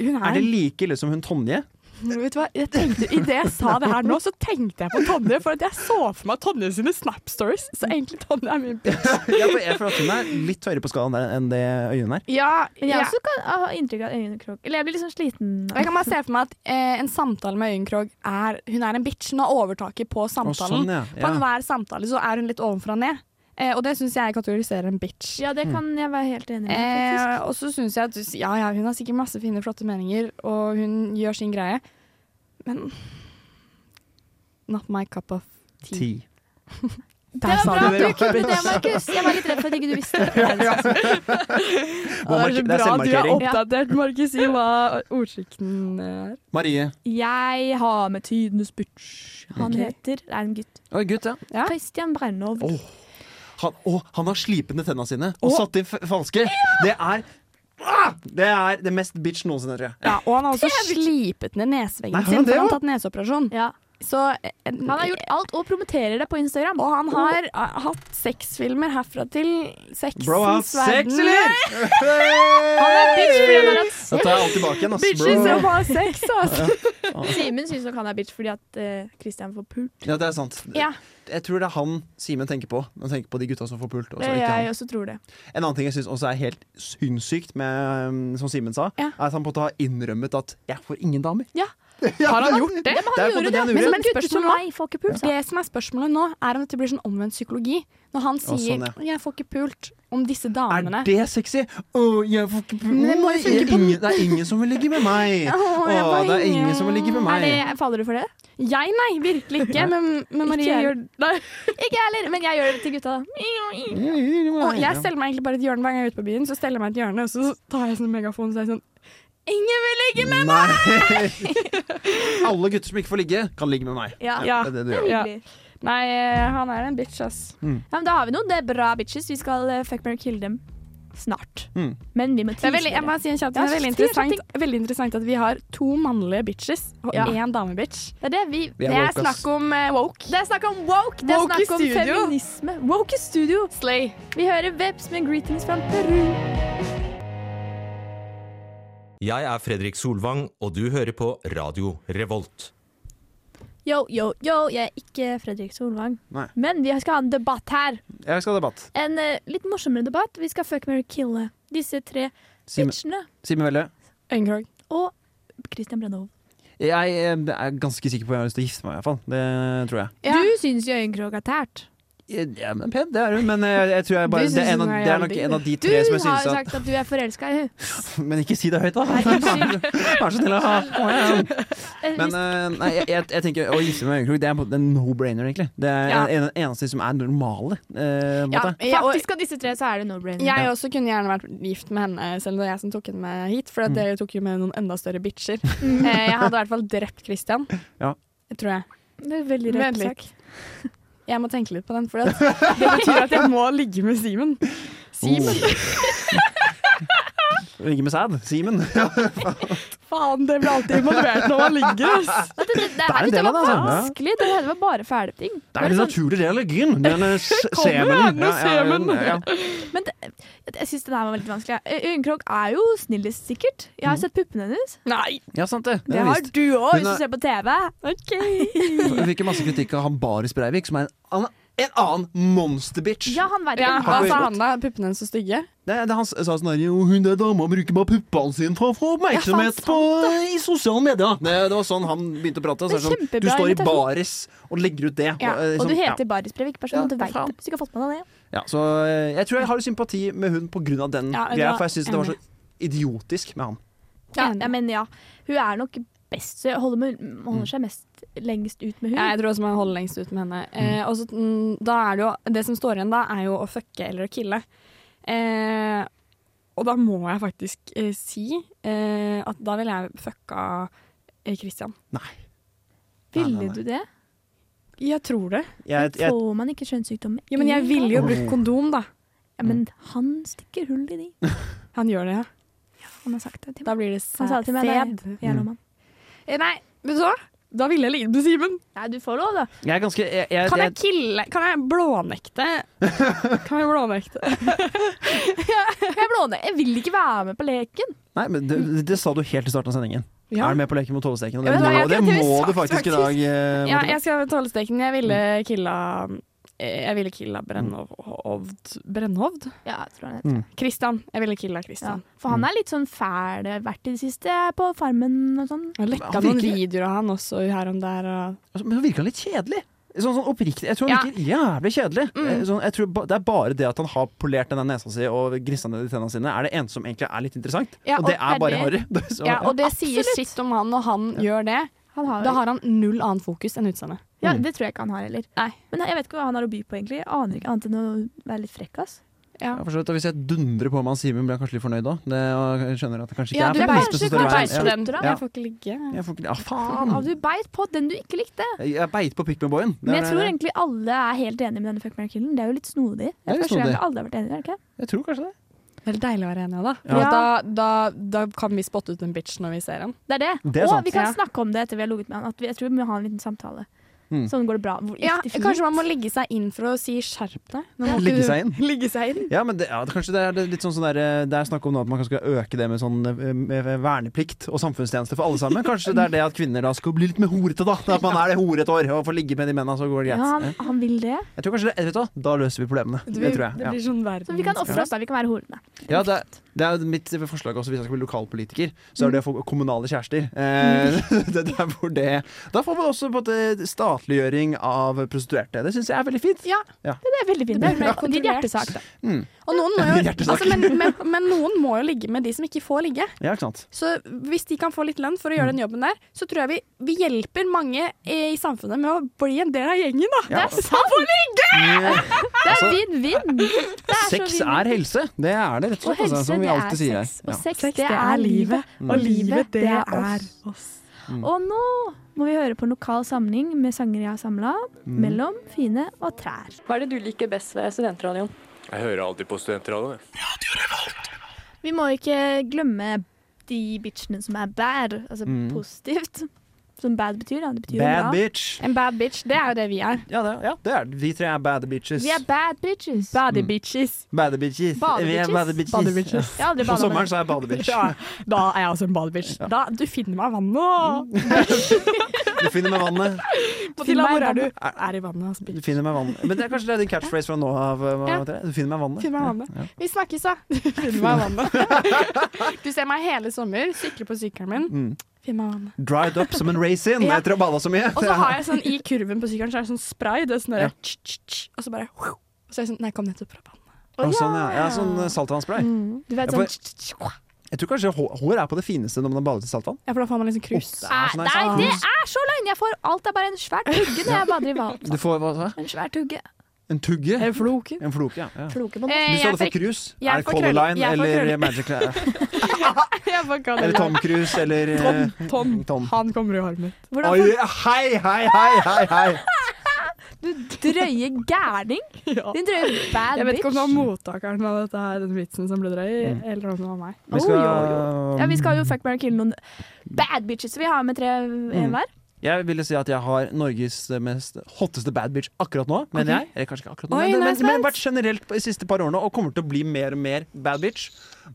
S3: Hun er,
S4: Er det like ille som hun Tonje? *laughs*
S3: Vet du hva? Jeg tenkte, I det jeg sa det her nå, så tenkte jeg på Tonje. For at jeg så for meg Tonje sine Snap-stories. Så egentlig Tonje er min bitch.
S4: Ja, for jeg føler at hun er litt høyere på skalaen der enn det øynene er.
S3: Ja,
S2: Men jeg også kan ha inntrykk av øyekrok. Eller jeg blir liksom sliten.
S3: Og Jeg kan bare se for meg at eh, en samtale med Øyenkrog er Hun er en bitch. Hun har overtaket på
S4: Å,
S3: samtalen.
S4: sånn, ja.
S3: På
S4: ja.
S3: enhver samtale så er hun litt ovenfra og ned. Eh, og det syns jeg kategoriserer en bitch.
S2: Ja, det kan jeg være helt enig i. faktisk.
S3: Eh, og så syns jeg at du- ja, ja, hun har sikkert masse fine, flotte meninger, og hun gjør sin greie, men Not my cup of tea.
S4: Ti.
S3: Der sa du det.
S2: Det var Markus. Jeg var litt redd for at ikke du visste det.
S4: Må mark- det er selvmarkering.
S3: oppdatert, Markus, i hva ordskikten er.
S4: Marie.
S2: *laughs* Jeg har med tidenes bitch. Han
S3: Ok.
S2: heter Det er en gutt.
S4: Oi, gutt, ja.
S3: Ja.
S2: Christian Brennov.
S4: Åh. Han, å, han har slipende tenna sine og
S3: Åh.
S4: satt inn f- falske. Det er Ah! Det er det mest bitch noensinne, tror jeg.
S3: Ja, og han har også slipet ned neseveggen
S4: Nei, har
S3: sin,
S4: han det
S3: for han har
S4: også?
S3: tatt neseoperasjon.
S2: Ja.
S3: Så eh,
S2: Han har gjort alt og promoterer det på Instagram.
S3: Og han har eh, hatt sexfilmer herfra til sexens
S4: Bro, han har sex,
S3: verden.
S4: eller?
S2: Han er bitch fordi han har hatt
S4: Dette
S2: sex.
S4: er alt tilbake igjen, ass,
S3: Bitches som
S4: bro.
S3: har sex, altså.
S2: Simen syns nok han er bitch fordi at eh, Christian får pult.
S4: Ja, det er sant.
S2: Ja.
S4: Jeg tror det er han Simen tenker på. Han tenker på de gutta som får pult. Og så
S2: Det
S4: ikke
S2: jeg
S4: han.
S2: også tror det.
S4: En annen ting jeg syns også er helt sinnssykt, med, um, som Simen sa,
S3: Ja.
S4: er at han på en måte har innrømmet at 'jeg får ingen damer'.
S2: Ja.
S4: Har
S3: han gjort det?
S4: *laughs* *laughs* Ja,
S2: Han
S4: men på en
S2: gjorde
S4: måte
S2: det,
S4: han gjorde.
S2: men gutter som
S3: Spørsmålet
S2: meg får ikke pult.
S3: Det som er spørsmålet nå, er om dette blir sånn omvendt psykologi. Når han
S4: Å,
S3: sier
S4: sånn, ja.
S3: 'jeg får ikke pult' om disse
S4: Er
S3: damene.
S4: det sexy? Å, jeg får ikke pult.
S3: Men det må jo
S4: Oi,
S3: funke
S4: jeg-
S3: på-
S4: ingen- Det er ingen som vil ligge med meg.
S3: Å, jeg
S4: Å,
S3: bare-
S4: det er ingen som vil ligge med
S2: Er
S4: meg.
S2: det, faller du for det?
S3: Jeg, nei, virkelig ikke. Men, men Marie
S2: Ikke jeg.
S3: gjør *laughs* nei.
S2: Ikke jeg heller, men jeg gjør det til gutta. da.
S3: Og jeg steller meg egentlig bare et hjørne hver gang jeg er ute på byen. Så steller jeg meg et hjørne, og så tar jeg sånn megafon og sier sånn 'Ingen vil ligge med
S4: Nei!
S3: *laughs*
S4: Alle gutter som ikke får ligge, kan ligge med meg.
S2: Ja.
S3: Ja.
S4: Det er det du
S2: Det er
S4: gjør.
S3: Ja.
S2: hyggelig.
S3: Nei, eh, han er en bitch, ass.
S2: Ja, men da har vi noe. Det er bra bitches. Vi skal eh, fuck, marry, kill dem snart.
S4: Mm.
S2: Men vi må
S3: Det er
S2: tease
S3: veldig, jeg må
S2: det.
S3: si en kjapt,
S2: Ja,
S3: ting. det er veldig
S2: si en kjapp
S3: interessant, veldig interessant at vi har to mannlige bitches og
S2: Ja.
S3: én damebitch.
S2: Det er det vi
S4: Vi
S3: Det
S4: er
S3: er
S4: woke, ass.
S3: snakk om eh, woke.
S2: Det er snakk om woke, det er
S3: Woke i
S2: snakk om
S3: studio.
S2: feminisme. Woke i studio.
S3: Slay.
S2: Vi hører Veps med 'Greetings from Peru'.
S5: Jeg er Fredrik Solvang, og du hører på Radio Revolt.
S2: Yo, yo, yo. Jeg er ikke Fredrik Solvang.
S4: Nei.
S2: Men vi skal ha en debatt her.
S4: Jeg skal ha debatt.
S2: En eh, litt morsommere debatt. Vi skal fuck, marry, kille disse tre
S4: Simen
S2: bitchene.
S4: Simen Velle.
S3: Øyenkrog.
S2: Og Christian Brennov.
S4: Jeg eh, er ganske sikker på at jeg har lyst til å gifte meg, i hvert fall. Det tror jeg.
S3: Ja.
S2: Du syns jo øyenkrog er tært.
S4: Ja, men pen, det er hun, men eh, jeg, jeg tror jeg bare,
S3: Du
S4: det, er en
S3: synes
S4: av,
S3: hun er
S4: det er nok
S3: jævlig.
S4: en av de
S2: Du
S4: tre som jeg
S2: har
S4: synes
S2: jo
S4: at
S2: sagt at du er forelska i henne.
S4: Men ikke si det høyt, da!
S2: *laughs*
S4: *laughs*
S2: Nei, unnskyld.
S4: Vær så snill. da. Kom
S3: *laughs*
S4: igjen.
S2: Eh,
S4: Men eh, nei, jeg, jeg, jeg tenker å gifte meg med øyekrok, det er på en måte en no-brainer, egentlig. Det er
S3: Ja.
S4: en, en eneste som er normale. eh, på en
S3: Ja,
S4: måte.
S3: ja, og-
S2: Faktisk av disse tre så er det no-brainer.
S3: Jeg også kunne gjerne vært gift med henne, selv om det var jeg som tok henne med hit. For
S4: Mm.
S3: at dere tok jo med noen enda større
S4: *laughs*
S3: bitcher. Eh, Jeg hadde i hvert fall drept Christian.
S4: Ja.
S3: Det tror jeg.
S2: Det er veldig
S3: Vent
S2: rett
S3: litt.
S2: sak.
S3: Jeg må tenke litt på den, for
S4: *laughs*
S3: at det betyr at jeg må ligge med Simen. Simen!
S4: Oh. Ligge med sæd. Simen.
S3: Faen, det blir alltid involvert når man ligger. ass.
S2: Det, det, det
S4: er
S2: her
S4: en
S2: ikke
S4: del av
S2: var
S4: det, altså.
S2: vanskelig. Det her var bare sånn, fæle ting.
S4: Det er en naturlig del av gyn. *laughs* Den eh, s- semenen.
S3: gjerne semen.
S2: Men det, jeg syns den her var veldig vanskelig. Ø- Øyenkrok er jo snillest, sikkert. Jeg har sett puppene hennes.
S3: Nei!
S4: Mm. Ja, sant det.
S2: Det har du òg,
S4: Hun
S2: hvis du
S4: er-
S2: ser på TV.
S4: Vi fikk jo masse kritikk av han Baris Breivik, som er en, han er en annen monsterbitch.
S2: Ja, han verden.
S3: Ja, hva
S4: Har du-
S3: sa han da? Puppene hennes så stygge?
S4: Det, det han s- sa sånn der, «Jo, Hun der dama bruker bare puppene sine for å få oppmerksomhet på, eh, i sosiale medier. Det, det var sånn han begynte å prate.
S2: Det
S4: Så er
S2: er
S4: det sånn,
S2: kjempebra
S4: du står i
S2: invitasjon.
S4: baris og legger ut det.
S3: Ja,
S4: eh,
S2: Og du
S4: sånn,
S2: heter Baris Breivik, bare så
S4: Ja,
S2: du
S4: for
S2: vet
S4: faen.
S2: det. Hvis du ikke har fått med deg det.
S4: ja, ja, så eh, Jeg tror jeg har sympati med hun på grunn av den
S3: Ja, det
S4: greia,
S3: var-
S4: for jeg syns det var så idiotisk med han.
S2: Ja,
S3: Enig.
S2: ja, men ja. Hun er nok best. så jeg Holder, med,
S4: Mm.
S2: holder seg mest lengst ut med
S3: Ja, Eh, jeg
S2: hun.
S3: tror også man holder lengst ut med henne. Eh, og så, mm, da er det, jo, det som står igjen da, er jo å fucke eller å kille. Eh, og da må jeg faktisk eh, si eh, at da ville jeg fucka eh, Christian.
S4: Nei. Nei, nei,
S2: Ville
S4: nei.
S2: du det?
S3: Jeg tror det.
S4: Jeg, jeg,
S2: Får man ikke kjønnssykdom? med
S3: Ja, men jeg
S2: en
S3: ville jo
S2: gang?
S3: brukt kondom, da.
S2: ja, Men han stikker hull i de.
S3: Han gjør det, ja.
S2: Han har sagt det til meg. *laughs*
S3: Da blir det sæd.
S2: Han sa det til meg da jeg-
S3: sæd.
S2: Jeg lå med *laughs* han.
S3: Eh, nei, vet du hva? Da ville jeg ligget med Simen.
S2: Nei, du får lov, da.
S4: jeg er ganske jeg, jeg,
S3: Kan jeg
S4: jeg,
S3: kille Kan jeg blånekte? Kan jeg blånekte?
S2: Jeg, blåner. jeg vil ikke være med på leken.
S4: Nei, men det, det sa du helt i starten av sendingen.
S3: Ja.
S4: Er du med på Leken mot tollesteken? Og det,
S3: Ja, men det
S4: må,
S3: er
S4: det
S3: akkurat det vi
S4: må
S3: sa,
S4: du faktisk i dag. eh, Mm.
S3: Ja,
S4: Martine.
S3: jeg skal ta steken. Jeg ville killa eh, Jeg ville killa Brennhovd Brennhovd?
S2: Ja, jeg tror han
S4: Mm.
S2: heter
S3: Kristian. Jeg ville killa
S2: ja.
S3: Kristian.
S2: For han er litt sånn fæl, eh, vært i det siste, på Farmen og sånn.
S3: Jeg lekka
S4: Han
S3: noen
S4: virker-
S3: videoer av han også her og der. Og
S4: Altså, Men så virker han litt kjedelig. Sånn, sånn oppriktig. Jeg tror han
S3: Ja. Mm.
S4: virker jævlig kjedelig. Eh, Sånn, jeg tror ba, det er bare det at han har polert denne nesa si og grissa ned de tennene sine, er det eneste som egentlig er litt interessant.
S3: Ja,
S4: og det
S3: og
S4: er bare
S3: ferdig.
S4: harry. *laughs* Det er så-
S3: ja, og det sier sitt om han når han gjør det.
S2: Han har,
S3: Da har han null annet fokus enn utseendet.
S2: ja,
S4: Mm.
S2: det tror jeg ikke han har heller.
S3: Nei.
S2: Men jeg vet ikke hva han har å by på, egentlig. Jeg aner ikke annet enn å være litt frekk, ass.
S3: Ja.
S4: Ja, for så vidt. og hvis jeg dundrer på med han Simen, blir han kanskje litt fornøyd òg. Jeg skjønner at det kanskje ikke
S3: Ja,
S4: er
S3: du
S4: for
S3: beit-
S4: lyst til å
S3: du
S4: stå i
S3: beit
S4: veien.
S3: på
S4: Ja.
S3: den.
S4: Ja.
S3: Jeg får ikke ligge.
S4: Jeg får ikke Ja,
S2: Ja,
S4: faen!
S2: du beit på den du ikke likte.
S4: Jeg beit på pikkmeboyen.
S2: Men jeg tror egentlig alle er helt enige med denne fuck marry killen. Det er jo litt snodig.
S4: Det er litt
S2: første gang
S4: snodig.
S2: alle har vært enige, er det ikke?
S4: Jeg tror kanskje det.
S3: Veldig deilig å være enig da.
S2: Ja.
S3: Da, da. Da kan vi spotte ut en bitch når vi ser en.
S2: Det er det.
S4: Det er
S2: og
S4: sant.
S2: vi kan
S3: Ja.
S2: snakke om det etter vi har ligget med han. At vi, jeg tror vi må ha en liten samtale.
S4: Mm.
S2: Sånn går det bra. Hvor,
S3: Ja,
S2: gikk det fint?
S3: kanskje man må ligge seg inn for å si 'skjerp deg'. Nå må
S4: Ligge
S3: du-
S4: seg inn.
S3: Ligge seg inn.
S4: Ja, men det, ja, det, kanskje det er det litt sånn sånn der, eh, Det er snakk om nå at man kanskje skal øke det med sånn eh, med verneplikt og samfunnstjeneste for alle sammen. Kanskje det er det at kvinner da skal bli litt mer horete, da. At man er det horete år og får ligge med de mennene, så går det
S2: ja,
S4: greit.
S2: han, han vil det.
S4: Jeg tror kanskje det, vet du hva, Da løser vi problemene.
S3: Det
S4: det
S3: blir,
S4: tror jeg.
S3: det
S4: Ja.
S3: blir sånn verden.
S2: Så vi kan ofre oss, da. Vi kan være horene.
S4: Mm. Ja, det, er- det er mitt forslag også, hvis jeg skal bli lokalpolitiker, så er det å få kommunale kjærester. Eh, *laughs* det, det er hvor det Da får vi også på en måte statliggjøring av prostituerte. Det syns jeg er veldig fint.
S3: Ja,
S2: Det er veldig fint.
S3: Det blir mer
S2: Det er litt
S3: kontrollert.
S2: hjertesak, da.
S4: Mm.
S3: og noen må
S4: *laughs*
S3: jo,
S4: Hjertesak.
S3: altså, men, men, men noen må jo ligge med de som ikke får ligge.
S4: Ja, ikke sant.
S3: Så hvis de kan få litt lønn for å
S4: Mm.
S3: gjøre den jobben der, så tror jeg vi, vi hjelper mange eh, i samfunnet med å bli en del av gjengen, da.
S4: Ja.
S2: Det er sant!
S4: Mm.
S2: Det er
S4: Altså,
S2: vinn-vinn. Det er så
S4: Sex
S2: vinn-vinn.
S4: er helse. Det er det, rett og
S2: Og
S4: slett. altså,
S2: helse,
S4: som vi
S2: det
S4: alltid sier
S2: er
S4: her.
S2: sex.
S4: Ja. Mm.
S2: Og sex, det er livet. Og livet, det er
S3: oss.
S2: Og nå må vi høre på en lokal samling med sanger jeg har samla,
S4: Mm.
S2: mellom fine og trær.
S6: Hva er det du liker best ved studentradioen?
S7: Jeg hører alltid på studentradioen. jeg.
S2: Vi må ikke glemme de bitchene som er bad, altså positivt. Som bad betyr, da. Det betyr jo
S4: Mm. Bad
S2: bra.
S4: bitch.
S3: En bad bitch, det er jo det vi er.
S4: Ja, det, ja, det er det. Vi tre er bad
S2: *laughs*
S4: bitches.
S2: Vi er bad bitches.
S4: Mm.
S3: Body bitches.
S4: Bad bitches. Vi er
S2: Badebitches.
S4: bad bitches.
S3: Badebitches.
S2: Jeg har aldri
S4: På
S2: bada
S4: sommeren så er jeg badebitch.
S3: da er jeg også en body bitch. Da, du finner meg i vannet.
S4: Mm. Du finner meg vannet.
S2: finner
S3: og- Tilla,
S2: meg i
S3: hvor er du? Er i vannet, altså,
S4: Du
S3: bitch.
S4: finner meg vannet. Men det er kanskje det er din catchphrase fra nå av. eh, hva- hva
S3: Ja.
S4: heter det? Du finner meg vannet.
S3: Finner meg i vannet. Vi snakkes, da. Du finner meg i vannet.
S4: *laughs*
S3: Du ser meg hele sommer, sykle på sykkelen min.
S4: Mm.
S3: Finner meg i vannet.
S4: Dried up som en raisin
S3: Ja.
S4: etter å ha bada så mye.
S3: Og så har jeg sånn i kurven på sykkelen, så er det sånn spray. Det er sånn der,
S4: Ja.
S3: tsk, tsk, tsk, og så bare wow. Og så er jeg sånn Nei, jeg kom nettopp fra vannet.
S4: Å, sånn, ja. ja, sånn eh, saltvannspray.
S2: Du vet
S4: Jeg
S2: sånn
S4: får- Jeg tror kanskje hår hår er på det fineste når man har badet i saltvann.
S3: Ja, for da får man liksom kruse.
S4: Åh, så nice.
S2: Nei, det er så langt! sånn, Jeg får alt er bare en svær tugge når jeg bader i vann.
S4: Du får hva sa jeg?
S2: En svær tugge.
S4: En tugge?
S3: Er det floken?
S4: En floke, ja. ja.
S2: Floke på
S4: Du
S2: den.
S3: Eh,
S4: sa
S3: jeg
S4: du får
S3: fikk-
S4: krus.
S3: jeg
S4: Er det
S3: får
S4: Color
S3: krøller.
S4: Line
S3: Jeg får
S4: eller
S3: krøller.
S2: *laughs*
S4: Magic Line?
S3: *laughs* Jeg bare kan
S4: Eller
S3: det.
S4: Tom Cruise eller eh,
S3: Tom.
S4: Tom.
S3: Han kommer i armen.
S2: Hvordan
S4: Oi, hei, hei, hei, hei, hei!
S2: får du drøye
S4: *laughs*
S2: gærning?
S3: Ja.
S2: Din drøye bad
S3: Jeg vet ikke om
S2: bitch.
S3: det var mottakeren av dette her, den vitsen som ble drøy, eller om det var meg.
S4: Vi skal,
S2: Ja, vi skal jo fuck, marry, kill noen bad bitches. Vi har med tre en
S4: Mm.
S2: hver.
S4: Jeg ville si at jeg har Norges eh, mest hotteste bad bitch akkurat nå, mener jeg. Eller kanskje ikke akkurat nå,
S3: Oi,
S4: men,
S3: nå er
S4: men,
S3: jeg
S4: men vært generelt på de siste par årene og kommer til å bli mer og mer bad bitch.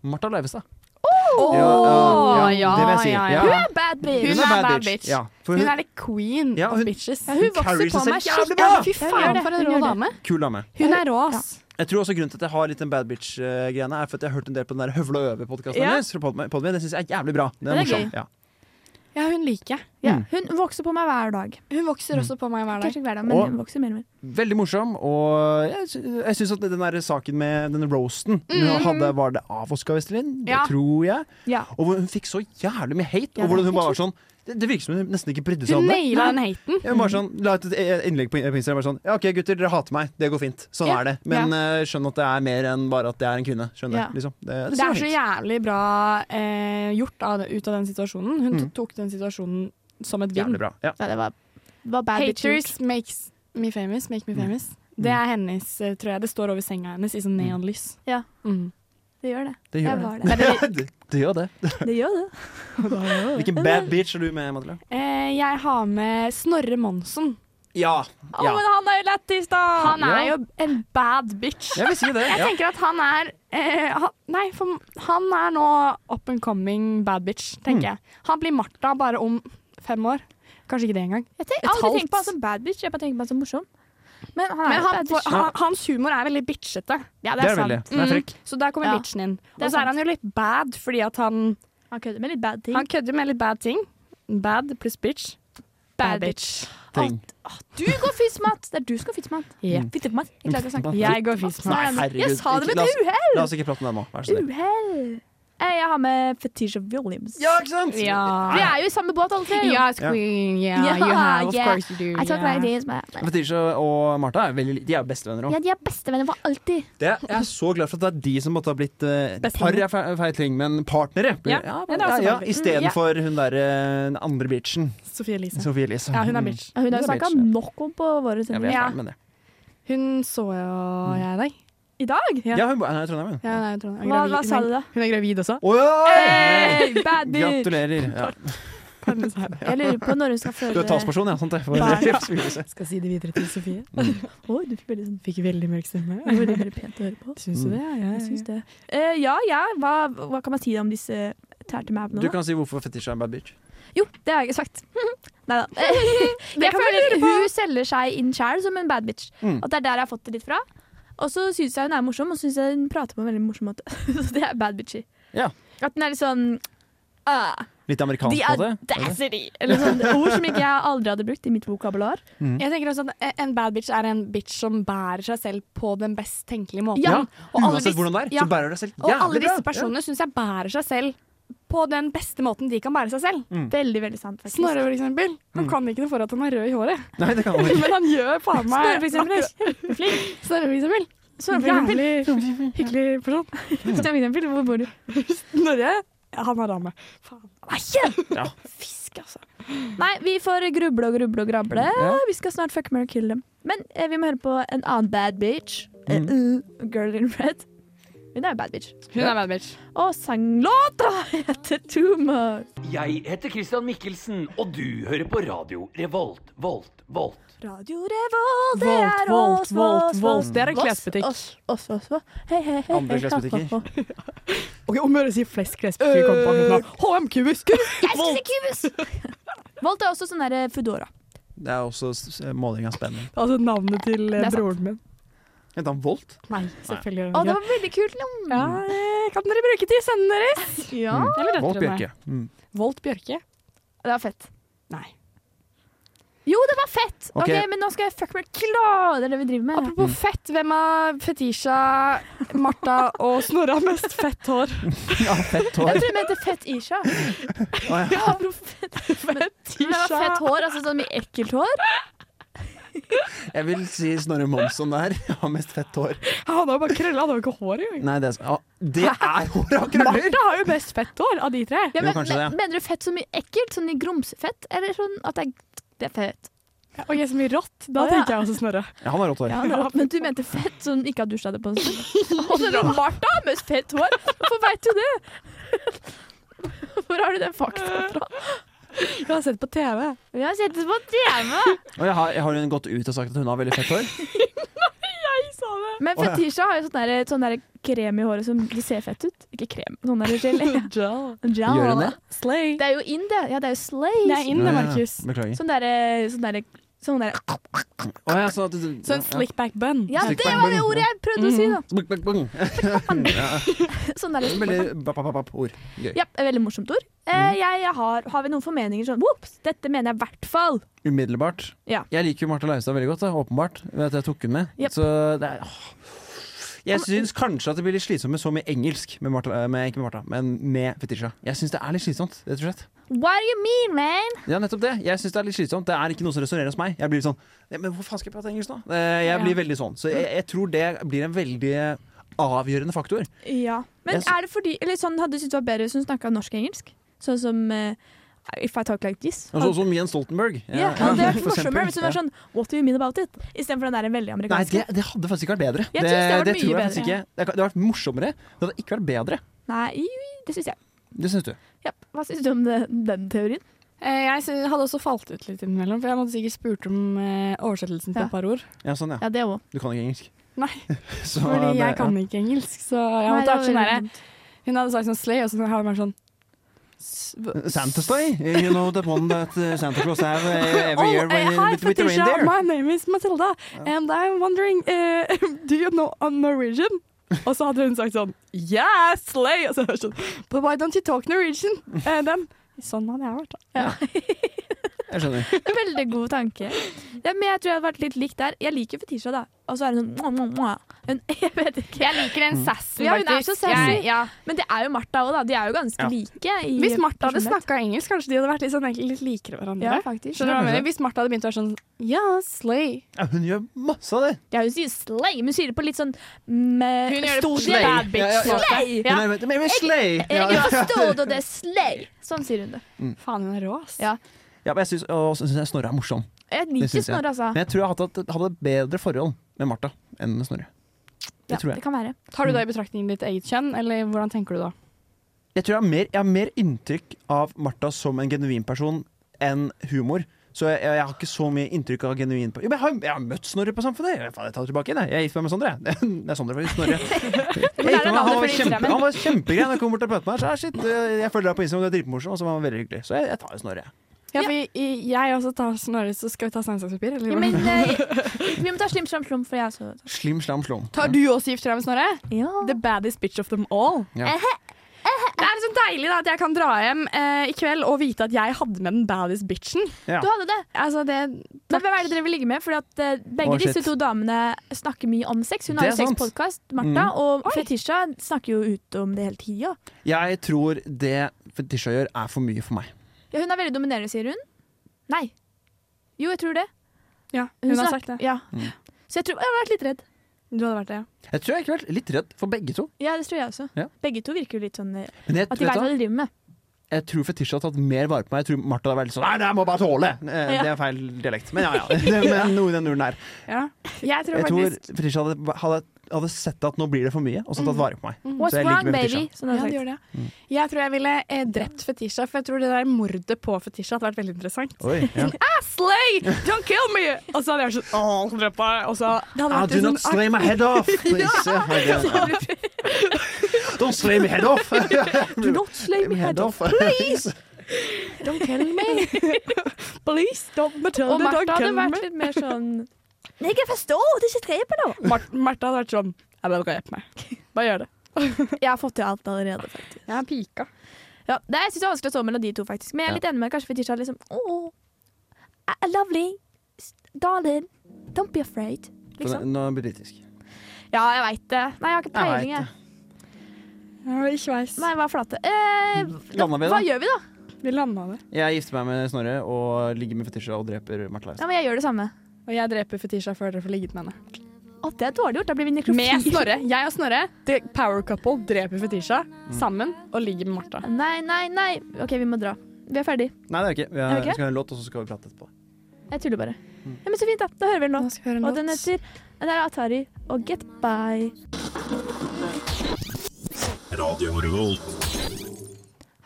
S4: Martha Leivestad.
S3: Åh,
S4: ja, ja, det vil jeg si. Ja.
S2: Hun er bad bitch!
S3: Hun er bad bitch.
S4: Ja, for
S3: Hun
S4: hun,
S3: er the queen
S4: Ja,
S3: of
S4: hun-
S3: bitches.
S2: Ja, hun vokser
S4: carries
S2: på
S4: seg
S2: meg
S4: jævlig
S2: skikkelig.
S4: bra.
S3: fy
S2: gjør
S3: faen,
S2: det,
S3: for
S2: hun
S3: en
S2: gjør
S3: rå
S2: det.
S3: dame.
S4: kul dame.
S3: Hun er rå, ass.
S4: Jeg tror også grunnen til at jeg har litt den bad bitch-greiene, er for at jeg har hørt en del på den der Høvle og øve-podkasten
S2: Ja.
S4: hennes. fra Podme- Podme. Det syns jeg er jævlig bra. Det er
S2: Men det er
S4: morsomt. Ja.
S3: Ja, hun liker jeg.
S2: Ja,
S4: Mm.
S2: hun vokser på meg hver dag.
S3: Hun vokser også på meg hver dag.
S2: Kanskje ikke hver dag, men
S4: Og-
S2: hun vokser mer og mer.
S4: Veldig morsom, og jeg, sy- jeg syns at den der saken med den roasten hun hadde, Var det av Oskar Westerlin?
S3: Mhm. Ja.
S4: Det tror jeg.
S2: Ja.
S4: Og hvor hun fikk så jævlig mye hate.
S2: Ja,
S4: og hvordan
S2: det
S4: hun bare var sånn Det, det virker som hun nesten ikke brydde seg
S3: Hun
S4: om det.
S3: naila den haten.
S4: Hun bare sånn, la ut et et innlegg på på Instagram bare sånn Ja, OK, gutter, dere hater meg. Det går fint. Sånn
S3: Ja.
S4: er det. Men eh, skjønn at det er mer enn bare at jeg er en kvinne. Skjønner
S2: Ja.
S4: liksom. Det,
S3: Det er så jævlig bra eh, gjort av, det- ut av den situasjonen. Hun
S4: Mm.
S3: tok den situasjonen som et vinn.
S4: jævlig bra. Ja.
S2: Ja, det var, var bad bitch.
S3: Haters makes me famous, make me
S4: Mm.
S3: famous. Det er hennes, eh, tror jeg. Det står over senga hennes i sånn neonlys.
S2: Ja.
S3: Mm.
S2: Det gjør det.
S4: Det
S2: Jeg
S4: gjør *laughs*
S2: var
S4: det.
S2: der.
S4: det. Det gjør det.
S2: Det gjør det.
S4: Hvilken bad bitch er du med, Madeleine?
S3: Eh, jeg har med Snorre Monsen.
S4: Ja.
S3: Å,
S4: ja.
S3: men han er jo lættis, da!
S4: Han er Ja.
S3: en bad bitch.
S4: Jeg vil si det.
S3: Jeg
S4: Ja.
S3: tenker at han er eh, han, Nei, for han er nå up and coming bad bitch,
S4: Mm.
S3: tenker jeg. Han blir Martha bare om fem år. Kanskje ikke det engang.
S2: Jeg tenker,
S3: Et
S2: aldri
S3: halvt.
S2: tenkt på han som bad bitch, jeg bare tenker på han som morsom. Men han er
S3: Men
S2: jo
S3: han,
S2: bad bitch.
S3: han, hans humor er veldig bitchete. Ja,
S4: Det er veldig. Den er frekk.
S3: Så der kommer
S2: Ja.
S3: bitchen inn. Og
S2: Det er
S3: så
S2: sant.
S3: er han jo litt bad fordi at han
S2: Han kødder med litt bad ting.
S3: Han kødder med litt bad ting. Bad pluss bitch.
S2: Bad
S4: Ting.
S2: Du går fismat! Det er du som går fismat.
S4: Mm.
S3: Yep.
S2: Fittemat. Jeg klarer ikke å snakke.
S3: Jeg går fis med
S4: Nei, herregud.
S2: Jeg sa det
S4: ikke-
S2: med et
S4: la oss- La oss ikke prate om det nå. Vær så snill.
S2: Uhell! Eh, Jeg har med Fetisha Williams.
S4: Ja, ikke sant?
S2: Vi
S3: Ja.
S2: er jo i samme båt, alle tre. jo.
S3: Yes, queen. Yeah,
S2: Ja,
S3: you have. Of
S2: yeah.
S3: course you do.
S2: I talk
S3: yeah.
S2: like this, man.
S4: Fetisha og Martha er veldig li- De er jo bestevenner òg.
S2: Ja, de er bestevenner for alltid.
S4: Jeg er så glad for at det er de som måtte ha blitt eh, Par
S3: Bestevenner.
S4: er fe- feil ting, men partnere.
S3: Ja, det er også
S4: ja,
S3: veldig-
S4: ja,
S3: Mm, ja.
S4: Istedenfor hun derre den andre bitchen.
S3: Sofie Elise.
S4: Sophie Elise.
S3: Ja, hun er bitch.
S2: Ja, Hun har
S4: Det er
S2: snakka
S4: bitch, ja.
S2: nok om på våre
S4: Jeg
S2: sender.
S4: vet,
S3: Ja.
S4: men det.
S3: Hun så jo
S4: Mm.
S3: jeg i dag.
S2: I dag?
S3: Ja.
S4: Ja, hun bor her i Trondheim, hun.
S3: Ja, nei, jeg tror hun er
S2: Hva,
S3: gravid.
S2: hva sa du da?
S3: Hun er gravid også.
S4: Å ja!
S2: Hey, bad bitch!
S4: Gratulerer. Ja.
S2: Jeg lurer på når hun skal føde
S4: Du er talsperson, *laughs* ja? Sant det? For
S2: Nei.
S4: Sophie Elise.
S3: Skal si det videre til Sofie.
S2: Oi, du fikk veldig sånn
S3: Fikk veldig mørk stemme.
S2: Det var veldig pent å høre på.
S3: Syns du det? Ja,
S2: Jeg
S3: ja, ja.
S2: syns det. Eh, ja, ja, hva, hva kan man si om disse tærte mævene?
S4: Du
S2: da?
S4: kan si hvorfor Fetisha er en bad bitch.
S2: Jo, det har jeg ikke sagt. *laughs* Nei da. Jeg
S3: kan vi
S2: føler
S3: lure på.
S2: hun selger seg inn sjæl som en bad bitch.
S4: Mm.
S2: At det er der jeg har fått det litt fra. Og så syns jeg hun er morsom, og så syns jeg hun prater på en veldig morsom måte. *laughs* Så det er bad bitchy.
S4: Ja.
S2: At den er litt sånn ah,
S4: Litt amerikansk
S2: The
S4: på det. er det?
S2: audacity! Eller sånne ord som ikke jeg aldri hadde brukt i mitt vokabular.
S3: Jeg tenker også at En bad bitch er en bitch som bærer seg selv på den best tenkelige måten.
S2: Ja.
S3: Og alle
S4: Uansett
S3: disse-
S4: hvordan det er,
S3: ja.
S4: så bærer du deg selv
S3: Og alle
S4: jævlig bra.
S3: disse personene syns jeg bærer seg selv på den beste måten de kan bære seg selv.
S2: Veldig, veldig sant, faktisk.
S3: Snorre, for eksempel.
S4: Mm.
S3: Han kan ikke noe for at han er rød i håret, *laughs*
S4: Ja. Nei, det kan han ikke.
S3: men han gjør faen meg
S2: Snorre, for eksempel, er
S3: Flink. *laughs* Snorre, for eksempel.
S2: Snorre, for eksempel.
S3: Jævlig hyggelig *laughs* person.
S2: Snorre, for eksempel. Hvor bor du?
S3: Snorre, han har dame. Faen.
S4: Ja.
S2: Fisk, altså. Nei, vi får gruble og gruble og grable.
S4: Ja.
S2: Vi skal snart fuck, marry, kill dem. Men eh, vi må høre på en annen bad bitch. Eh,
S4: Mm.
S2: uh, girl in red. Hun er jo bad bitch.
S3: Hun er bad bitch.
S2: Og sanglåta heter Too Much.
S8: Jeg heter Christian Mikkelsen, og du hører på radio Revolt, Volt, Volt.
S2: Radio Revolt, det
S3: Volt,
S2: er
S3: volt,
S2: oss,
S3: volt,
S2: oss,
S3: volt.
S2: oss,
S3: Det er en
S2: oss,
S3: klesbutikk.
S2: Oss, oss, oss, oss. Hei, hei, hei.
S4: Andre
S2: hei, ha, ha,
S4: klesbutikker.
S2: ha.
S3: Ok, Om Møre sier flest klesbutikk kom på
S4: Eh,
S3: hun da.
S4: H&M
S3: HMQ-hus!
S2: Volt. Volt er også sånn der eh, Foodora.
S4: Det er også s- måling av spenning.
S3: *laughs* Altså navnet til
S2: Det
S3: eh,
S2: er sant.
S3: broren min.
S4: Vent, han Volt?
S3: Nei, selvfølgelig.
S2: Å, det var veldig kult. Lam.
S3: ja, det kan dere bruke til sønnen deres?
S2: Ja.
S3: Eller
S4: Volt
S3: døtrene.
S4: Bjørke. Mm.
S3: Volt Bjørke?
S2: Det var fett.
S3: Nei.
S2: Jo, det var fett!
S4: Ok.
S2: Ok, Men nå skal jeg fuck meg klar! Det er det vi driver med.
S3: Apropos fett, hvem av Fetisha, Martha og Snorre har mest fett hår?
S4: *laughs* Ja, fett hår.
S2: Jeg tror hun heter Fett-Isha.
S4: Å, ja.
S2: Hun har fett hår, altså sånn mye ekkelt hår.
S4: Jeg vil si Snorre Monsson der. Jeg har mest fett hår.
S3: Han har jo bare krøller, han har jo ikke hår engang.
S4: Nei, det er, å, det er håret av krøller!
S3: Martha har jo mest fett hår av de tre.
S2: Ja,
S4: Jo, kanskje det, ja.
S2: Mener du fett så mye ekkelt? Sånn i grumsefett? Eller sånn at det er, det er fett?
S3: Og jeg som er rått, da
S2: Å, ja.
S3: tenker jeg også Snorre.
S4: Ja, han har rått hår.
S2: Ja, det er- men du mente fett som ikke har dusja det på en *laughs* stund? Og så er det Martha har mest fett hår! Hvorfor veit du det? *laughs* Hvor har du den faktaen fra?
S3: Jeg har sett på TV. *laughs*
S2: Vi har sett det på TV!
S4: Og jeg har, jeg har hun gått ut og sagt at hun har veldig fett hår?
S2: Men Fetisha har jo sånn der, sånn der krem i håret som det ser fett ut. Ikke krem, sånn der
S4: *laughs*
S2: gelé. Ja.
S4: Gjør hun det?
S3: Slay.
S2: Det er jo inn, det. Ja, det er jo slays.
S3: Det er inn det, Markus.
S4: Beklager.
S2: Sånn derre sånn derre sånn der,
S4: Å, ja, så, at du-
S3: Så en slickback bun.
S2: Ja,
S4: Slick
S2: det
S4: bang
S2: var det
S4: bang.
S2: ordet jeg prøvde å si, da.
S4: Bang, bang, bang.
S2: Sånn derre
S4: Mm. Veldig Mm. bap, bap, bap, ord. Gøy.
S2: ja, et veldig morsomt ord. Eh, jeg, jeg har, har vi noen formeninger sånn Ops, dette mener jeg i hvert fall.
S4: Umiddelbart.
S2: Ja.
S4: Jeg liker jo Marte Leivstad veldig godt, da, åpenbart. Ved at jeg tok hun med.
S2: Jep.
S4: Så det er, åh. Jeg syns kanskje at det blir litt slitsomt med så mye engelsk med Martha, eh, med, ikke med Martha, men med Fetisha. Jeg syns det er litt slitsomt, rett og slett.
S2: What do you mean, man?
S4: Ja, nettopp det. Jeg synes det er litt slitsomt. Det er ikke noe som resonnerer hos meg. Jeg blir litt sånn «Nei, Men hvor faen skal jeg prate engelsk nå? Eh, Jeg blir veldig sånn. Så jeg, jeg tror det blir en veldig avgjørende faktor.
S2: Ja. Men
S4: Jeg sy-
S2: er det fordi Eller sånn hadde du syntes det var bedre hvis hun snakka norsk-engelsk? Sånn som eh, If I talk like this.
S4: Og så- sånn som Jens Stoltenberg. Ja,
S2: ja, hadde det vært
S4: for eksempel.
S2: morsommere hvis hun var sånn What do you mean about it? Istedenfor den der veldig
S4: Nei,
S2: amerikanske.
S4: det, det hadde faktisk ikke vært bedre.
S2: Jeg synes det hadde vært mye
S4: tror jeg faktisk
S2: bedre.
S4: ikke. Det kan- det hadde vært morsommere. Det hadde ikke vært bedre.
S2: Nei, det syns jeg.
S4: Det syns du.
S2: Ja, hva syns du om det, den teorien?
S3: Eh, Jeg sy- hadde også falt ut litt innimellom, for jeg måtte sikkert spurt om eh, oversettelsen til
S2: Ja.
S3: et par ord.
S4: Ja, sånn, ja.
S2: Ja, det òg.
S4: Du kan ikke engelsk.
S3: Nei,
S4: *laughs* Så
S3: fordi
S4: det-
S3: jeg kan
S4: ja.
S3: ikke engelsk, så jeg måtte vært sånn derre Hun hadde sagt sånn slay, og så har hun vært sånn s- b-
S4: Santa Stay, you know the one that uh, Santa Claus have uh, every
S3: *laughs* Oh,
S4: year
S3: eh,
S4: when,
S3: hi,
S4: with, with the
S3: Fetisha.
S4: reindeer.
S3: My name is Matilda, and I'm wondering, eh, *laughs* do you know I'm Norwegian? Og så hadde hun sagt sånn, yeah, slay! Og så var jeg sånn, but why don't you talk Norwegian? Eh, den, sånn hadde jeg vært da.
S4: Jeg skjønner.
S2: *laughs* Veldig god tanke. Ja, men jeg tror jeg hadde vært litt lik der. Jeg liker Fetisha, da. Og så er hun sånn mwah, mwah, mwah. Hun, *laughs* Jeg vet ikke.
S9: Jeg liker
S4: Mm.
S9: den sassen,
S2: Ja, hun er så
S9: faktisk.
S2: sassy.
S9: Jeg- ja.
S2: Men det er jo Martha òg, da. De er jo ganske
S4: Ja.
S2: like. I
S3: Hvis Martha hadde
S2: personlighet.
S3: snakket engelsk, kanskje de hadde vært litt, sånn, egentlig litt likere hverandre.
S2: Ja, faktisk.
S3: Skjønner du hva jeg mener? Hvis Martha hadde begynt å være sånn, yeah, slay.
S4: Ja, hun gjør masse av det.
S2: Ja, hun sier slay, men hun sier det på litt sånn med
S9: Hun gjør det
S2: stor
S9: på
S2: del.
S4: Slay. Ja, ja, ja.
S2: Slay!
S4: Hun er med, med, med slay. Ja,
S2: Jeg forstår det, det er slay. Sånn sier hun det.
S3: Faen, hun er rå, ass.
S2: Ja.
S4: ja, men jeg syns, og så syns jeg Snorre er morsom.
S2: Jeg
S4: Det
S2: liker
S4: syns jeg.
S2: Snorre, altså.
S4: Men jeg tror jeg hadde hatt hadde et bedre forhold med Martha enn med Snorre.
S2: Ja,
S4: Det tror jeg.
S2: det kan være.
S3: Tar du da i betraktning ditt eget kjønn, eller hvordan tenker du da?
S4: Jeg tror jeg har mer, jeg har mer inntrykk av Martha som en genuin person enn humor. Så jeg, jeg har ikke så mye inntrykk av genuin per- Jo, men jeg har, jeg har møtt Snorre på Samfunnet! Jeg, faen, jeg tar det tilbake igjen, jeg. Jeg er gift meg med Sondre. jeg. *laughs* Det er Sondre, *laughs* faktisk. Snorre. Jeg gifter meg,
S3: navnet
S4: han,
S3: for
S4: var
S3: de
S4: kjempe,
S3: fremmed.
S4: han var kjempegrei når han kom bort og møtte meg. Så, ah, shit, eh, jeg følger deg på Instagram, du er dritmorsom. Og så var han veldig hyggelig. Så jeg, jeg tar jo Snorre.
S3: Ja, for jeg, jeg også tar Snorre, så skal vi ta sandstagspapir, eller?
S2: Ja,
S9: *laughs*
S2: men eh, vi må ta slim, slam, slum, for jeg også
S4: Slim, slam, slom.
S3: Tar du også gifter deg med Snorre?
S2: ja.
S3: The baddest bitch of them all.
S4: Ja.
S3: Det er så deilig da, at jeg kan dra hjem eh, i kveld og vite at jeg hadde med den baddest bitchen.
S4: Ja.
S2: Du hadde det.
S3: Altså, det,
S2: Men hvem er det dere vil ligge med? Fordi at eh, Begge
S4: Å, shit.
S2: disse to damene snakker mye om sex. Hun
S4: Det
S2: har
S4: er
S2: jo
S4: sant. Mm.
S2: sexpodkast, Martha. Og Fetisha snakker jo ut om det hele tida.
S4: Jeg tror det Fetisha gjør, er for mye for meg.
S2: Ja, hun er veldig dominerende, sier hun. Nei. Jo, jeg tror det.
S3: ja, hun, har
S2: snak-
S3: sagt det.
S2: Ja.
S4: Mm.
S2: Så jeg tror Jeg har vært litt redd.
S3: Du hadde vært det, ja.
S4: Jeg tror jeg ikke har vært litt redd for begge to.
S2: Ja, det tror jeg også.
S4: Ja.
S2: Begge to virker jo litt sånn eh,
S4: Men jeg,
S2: At de vet
S4: vet du hva?
S2: hva de driver med.
S4: jeg tror Fetisha har tatt mer vare på meg. Jeg tror Martha har vært litt sånn Nei, det må jeg bare tåle! Eh,
S2: Ja.
S4: Det er feil dialekt. Men ja, *laughs* ja. Det, men noe i den duren der.
S3: ja. Jeg tror
S4: Jeg tror
S3: faktisk
S4: Fetisha hadde, hadde, hadde sett at nå blir det for mye, og så tatt vare på meg.
S2: What's
S4: jeg liker
S2: wrong,
S4: med
S2: baby? Sånn Som
S3: ja,
S2: hun har sagt.
S3: det gjør det. Jeg tror jeg ville eh, drept Fetisha, for jeg tror det der mordet på Fetisha hadde vært veldig interessant.
S4: Oi, ja.
S3: Slay! Don't kill me! Og så hadde jeg vært sånn Åh, han drepte meg! Og så det hadde
S4: Ah,
S3: vært
S4: do
S3: en
S4: not
S3: sånn
S4: slay my head off, please. Ja, det- Don't slay my head off.
S3: «Ah, Do not
S4: *laughs*
S3: slay me head off,
S4: please.
S3: don't kill me! Please, don't Matilda,
S2: Og
S3: don't
S2: Martha hadde
S3: kill me!
S2: vært litt mer sånn *laughs* Nei, jeg forstår disse trepene nå.
S3: Mar Martha hadde vært sånn Jeg vil drepe meg. *laughs* Bare gjør det.
S2: Jeg har fått til alt allerede, faktisk.
S3: Jeg er pika.
S2: Ja, det jeg synes det er vanskelig å stå mellom de to, faktisk. Men jeg er litt enig med kanskje Fetisha er liksom oh, Lovely. S- Darling. Don't be afraid. Liksom.
S4: Nå blir det britisk.
S2: Ja, jeg veit det. Nei, jeg har ikke
S4: Jeg vet
S2: peiling, jeg.
S3: I sveis.
S2: Nei, hva er flate. Eh,
S4: Hm,
S2: da,
S4: Landa vi,
S2: hva
S4: da?
S2: gjør vi, da?
S3: Vi landa det.
S4: Jeg gifter meg med Snorre og ligger med Fetisha og dreper Martha Leivestad.
S2: Ja, men jeg gjør det samme.
S3: Og jeg dreper Fetisha før dere får ligget med henne.
S2: Å, det er dårlig gjort. Da blir vi nekrofile.
S3: Med Snorre. Jeg og Snorre, the power couple, dreper Fetisha sammen og ligger med Martha.
S2: *laughs* Nei, nei, nei. OK, vi må dra. Vi er ferdig.
S4: Nei, det er ikke. Vi
S2: Er
S4: har-
S2: det ikke?
S4: vi skal ha en låt, og så skal vi prate etterpå.
S2: Jeg tuller bare. Ja, men Så fint, da. Da hører vi en låt.
S3: skal vi høre
S2: Og den heter Det er Atari og Get By.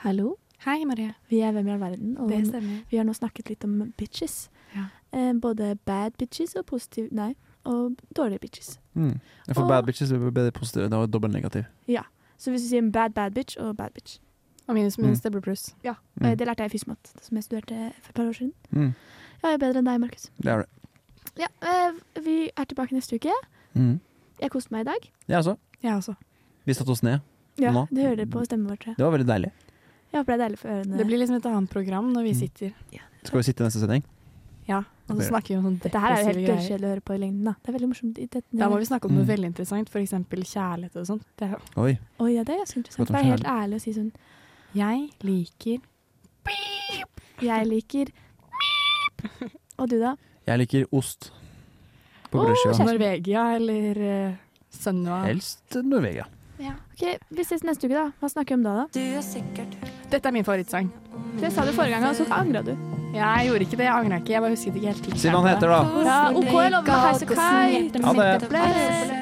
S2: Hallo,
S3: Hei, Marie.
S2: vi er Hvem i all verden, og
S3: Det stemmer.
S2: vi har nå snakket litt om bitches.
S3: Ja.
S2: Eh, både bad bitches og positive Nei, og dårlige bitches.
S4: For
S2: Og-
S4: Mm. bad bitches blir det bedre positive. Det var dobbelt negativ.
S2: Så hvis du sier en bad bad bitch og bad bitch
S3: Og minus minus, det blir pluss.
S2: og Det lærte jeg i fysmat, som jeg studerte for et par år siden.
S4: Mm.
S2: Jeg er bedre enn deg, Markus.
S4: Det er det.
S2: Ja, eh, vi er tilbake neste uke.
S4: Mm.
S2: Jeg koste meg i dag.
S4: Jeg også.
S3: Jeg også.
S4: Vi satte oss ned.
S2: Ja,
S4: Nå?
S2: Det hører dere på stemmen vår, tror jeg.
S4: Det var veldig deilig.
S2: Jeg håper det er deilig for ørene.
S3: Det blir liksom et annet program når vi sitter.
S4: Skal vi sitte i neste sending?
S3: Ja, og så snakker vi om sånne
S2: Det her er jo helt
S3: depressive greier.
S2: gørrkjedelig å høre på i lengden. Da. Det er veldig morsomt. i dette-
S3: Da må vi snakke om noe
S4: Mm.
S3: veldig interessant, f.eks. kjærlighet og sånt. Det er jo-
S4: Oi.
S2: Oi, ja, det er ganske interessant.
S4: Skal vi ta
S2: Vær helt ærlig og si sånn
S3: Jeg liker
S2: Jeg
S3: *laughs*
S2: liker Beep. Og du, da?
S4: Jeg liker ost. På
S2: Åh,
S4: brødskiva.
S3: Norvegia eller uh, Sunniva.
S4: Helst Norvegia.
S2: Ok, Vi ses neste uke, da. Hva snakker vi om da? da?
S3: Dette er min favorittsang.
S2: Det sa du forrige gang, og så angra du.
S3: Jeg gjorde ikke det, jeg angra ikke. Jeg bare husket ikke helt.
S4: Si hva han heter, da.
S2: Ja, OK, jeg lover meg. Heise Kai.
S4: Ha det.
S2: Bless.